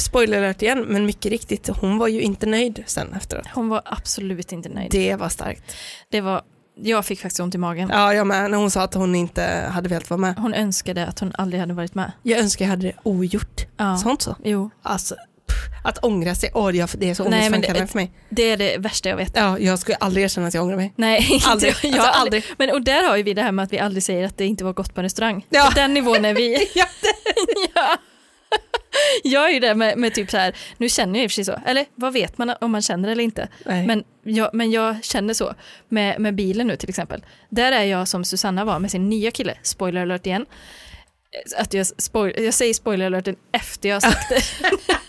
spoiler alert igen, men mycket riktigt, hon var ju inte nöjd sen efteråt. Hon var absolut inte nöjd. Det, Det var starkt. var, jag fick faktiskt ont i magen. Ja, jag med, när hon sa att hon inte hade velat vara med. Hon önskade att hon aldrig hade varit med. Jag önskar jag hade det ogjort. Ja. Sånt så. Jo, Alltså, pff, att ångra sig, åh, jag- det är så Nej, men ångestframkallande det- för mig. det är det värsta jag vet. Ja, jag skulle aldrig erkänna att jag ångrar mig. Nej, inte Aldrig. jag. Alltså, jag har aldrig. aldrig. Men, och där har ju vi det här med att vi aldrig säger att det inte var gott på en restaurang. Ja. På den nivån är vi. Ja, ja. Jag är ju där med, med typ så här, nu känner jag i och för sig så, eller vad vet man om man känner eller inte? Nej. Men jag, men jag känner så med, med bilen nu till exempel. Där är jag som Susanna var med sin nya kille, spoiler alert igen. Eh, Att jag, spoil, jag säger spoiler alerten efter jag har sagt det.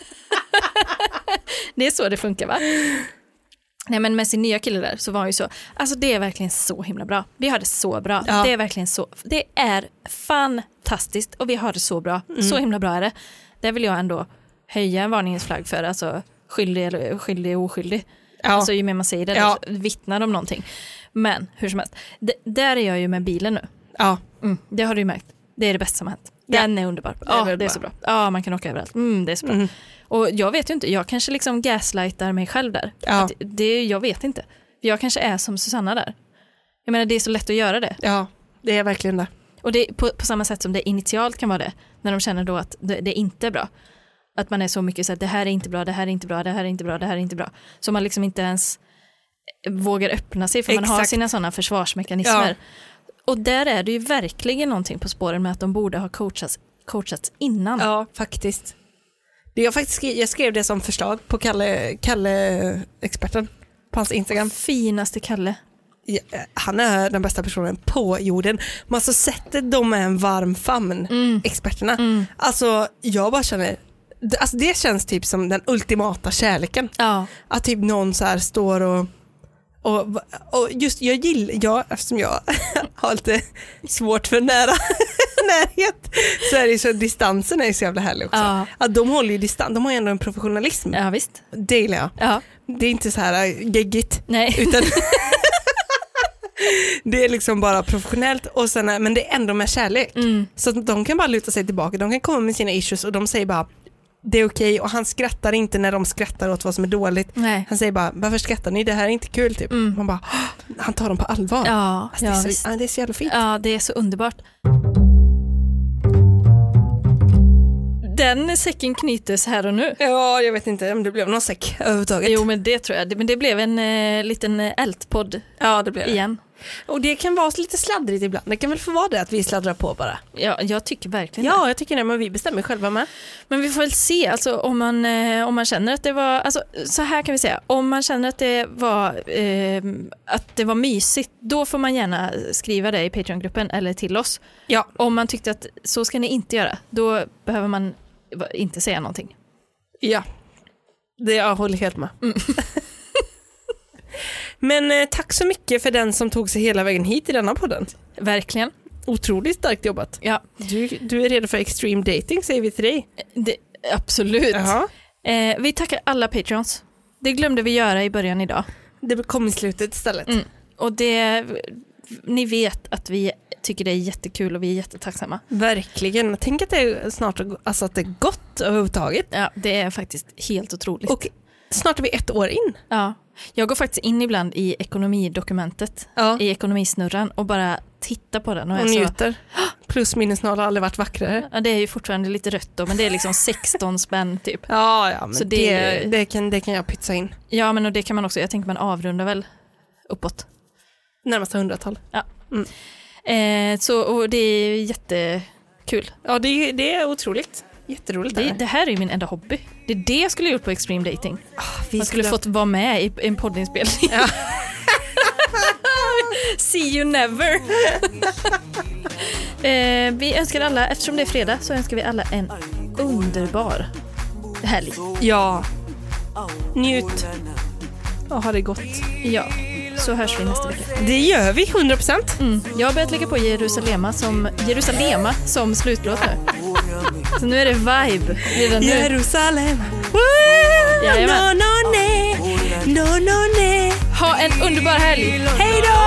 det är så det funkar va? Nej men med sin nya kille där så var han ju så, alltså det är verkligen så himla bra. Vi har det så bra. Ja. Det är verkligen så, det är fantastiskt och vi har det så bra. Mm. Så himla bra är det. Där vill jag ändå höja en varningens flagg för, alltså skyldig eller skyldig och oskyldig. Ja. Alltså ju mer man säger det, Ja. vittnar om någonting. Men hur som helst, D- där är jag ju med bilen nu. ja. Mm, det har du ju märkt. Det är det bästa som har hänt. Ja. Den är underbar. är Ja, det är, underbar. så bra. Ja, man kan åka överallt. Mm, det är så bra. Och jag vet ju inte, jag kanske liksom gaslightar mig själv där. Ja. Att det, jag vet inte. För jag kanske är som Susanna där. Jag menar det är så lätt att göra det. ja, det är verkligen det. Och det är på, på samma sätt som det initialt kan vara det. När de känner då att det, det inte är bra. Att man är så mycket så att det här är inte bra, det här är inte bra, det här är inte bra, det här är inte bra. Så man liksom inte ens vågar öppna sig för man har Exakt. sina sådana försvarsmekanismer. Och där är det ju verkligen någonting på spåren med att de borde ha coachats, coachats innan. Ja, faktiskt. Det jag, faktiskt skrev, jag skrev det som förslag på Kalle, Kalle experten på hans Instagram. Finaste Kalle. Ja, Han är den bästa personen på jorden. Man så sätter de är en varm famn, Mm. experterna. Alltså jag bara känner, alltså det känns typ som den ultimata kärleken. Ja. Att typ någon så här står och, och, och just jag gillar, jag, eftersom jag har lite svårt för nära närhet så är det ju så distansen är ju så jävla härlig också. Ja. Att de håller ju distans, de har ju ändå en professionalism. ja, visst. Det gillar jag. Ja. Det är inte så här äh, geggigt Nej. utan det är liksom bara professionellt och sen är, men det är ändå med kärlek. Mm. Så att de kan bara luta sig tillbaka, de kan komma med sina issues och de säger bara det är okej och han skrattar inte när de skrattar åt vad som är dåligt. Nej. Han säger bara varför skrattar ni, det här är inte kul typ. Man bara, "Åh!" han tar dem på allvar. Ja, alltså, det, ja, är visst. så, ja, det är så jävla fint. Ja, det är så underbart. Den säcken knytes här och nu. Ja, jag vet inte om det blev någon säck överhuvudtaget. Jo, men det tror jag. Det- Men det blev en eh, liten eh, ältpodd Ja, det blev det. igen. Och det kan vara lite sladdrigt ibland. Det kan väl få vara det att vi sladdrar på bara. Ja, jag tycker verkligen det. Ja, jag tycker det, men vi bestämmer själva med. Men vi får väl se alltså, om, man, eh, om man känner att det var, alltså, så här kan vi säga, om man känner att det var, eh, att det var mysigt, då får man gärna skriva det i Patreon-gruppen eller till oss. Ja, Om man tyckte att så ska ni inte göra, då behöver man va- inte säga någonting. Ja, det jag håller helt med. Men eh, tack så mycket för den som tog sig hela vägen hit i denna podden. Verkligen. Otroligt starkt jobbat. Ja, Du, du är redo för extreme dating säger vi till dig. det, absolut. Jaha. Eh, vi tackar alla Patreons. Det glömde vi göra i början idag. Mm. Det kom i slutet istället. Och det, ni vet att vi tycker det är jättekul och vi är jättetacksamma. Verkligen. Tänk att det är snart alltså att det är gott överhuvudtaget. Ja, det är faktiskt helt otroligt. Och snart är vi ett år in. ja. Jag går faktiskt in ibland i ekonomidokumentet, Ja. i ekonomisnurran och bara tittar på den. Och är Och så, njuter. Plus minusnoll har aldrig varit vackrare. ja, det är ju fortfarande lite rött då, men det är liksom 16 spänn typ. Ja, ja men Så det, det- det, kan, det kan jag pytsa in. Ja, men och det kan man också, jag tänker man avrundar väl uppåt. Närmsta hundratal. Eh, så, och det är jättekul. Ja, det, det är otroligt. Jätteroligt. Det, det här är ju min enda hobby. Det är det jag skulle ha gjort på Extreme Dating. Ah, vi Man skulle fått vara med i en poddinspelning. See you never. eh, vi önskar alla, eftersom det är fredag, så önskar vi alla en underbar helg. Ja. Njut och ha det gott. Ja, så hörs vi nästa vecka. Det gör vi, 100 procent. Mm. Jag har börjat lägga på Jerusalema som, Jerusalema som slutlåt nu. Så nu är det vibe redan nu. Jerusalem. Jajamän. No, no, nej. No, no, nej. Ha en underbar helg! Hej då!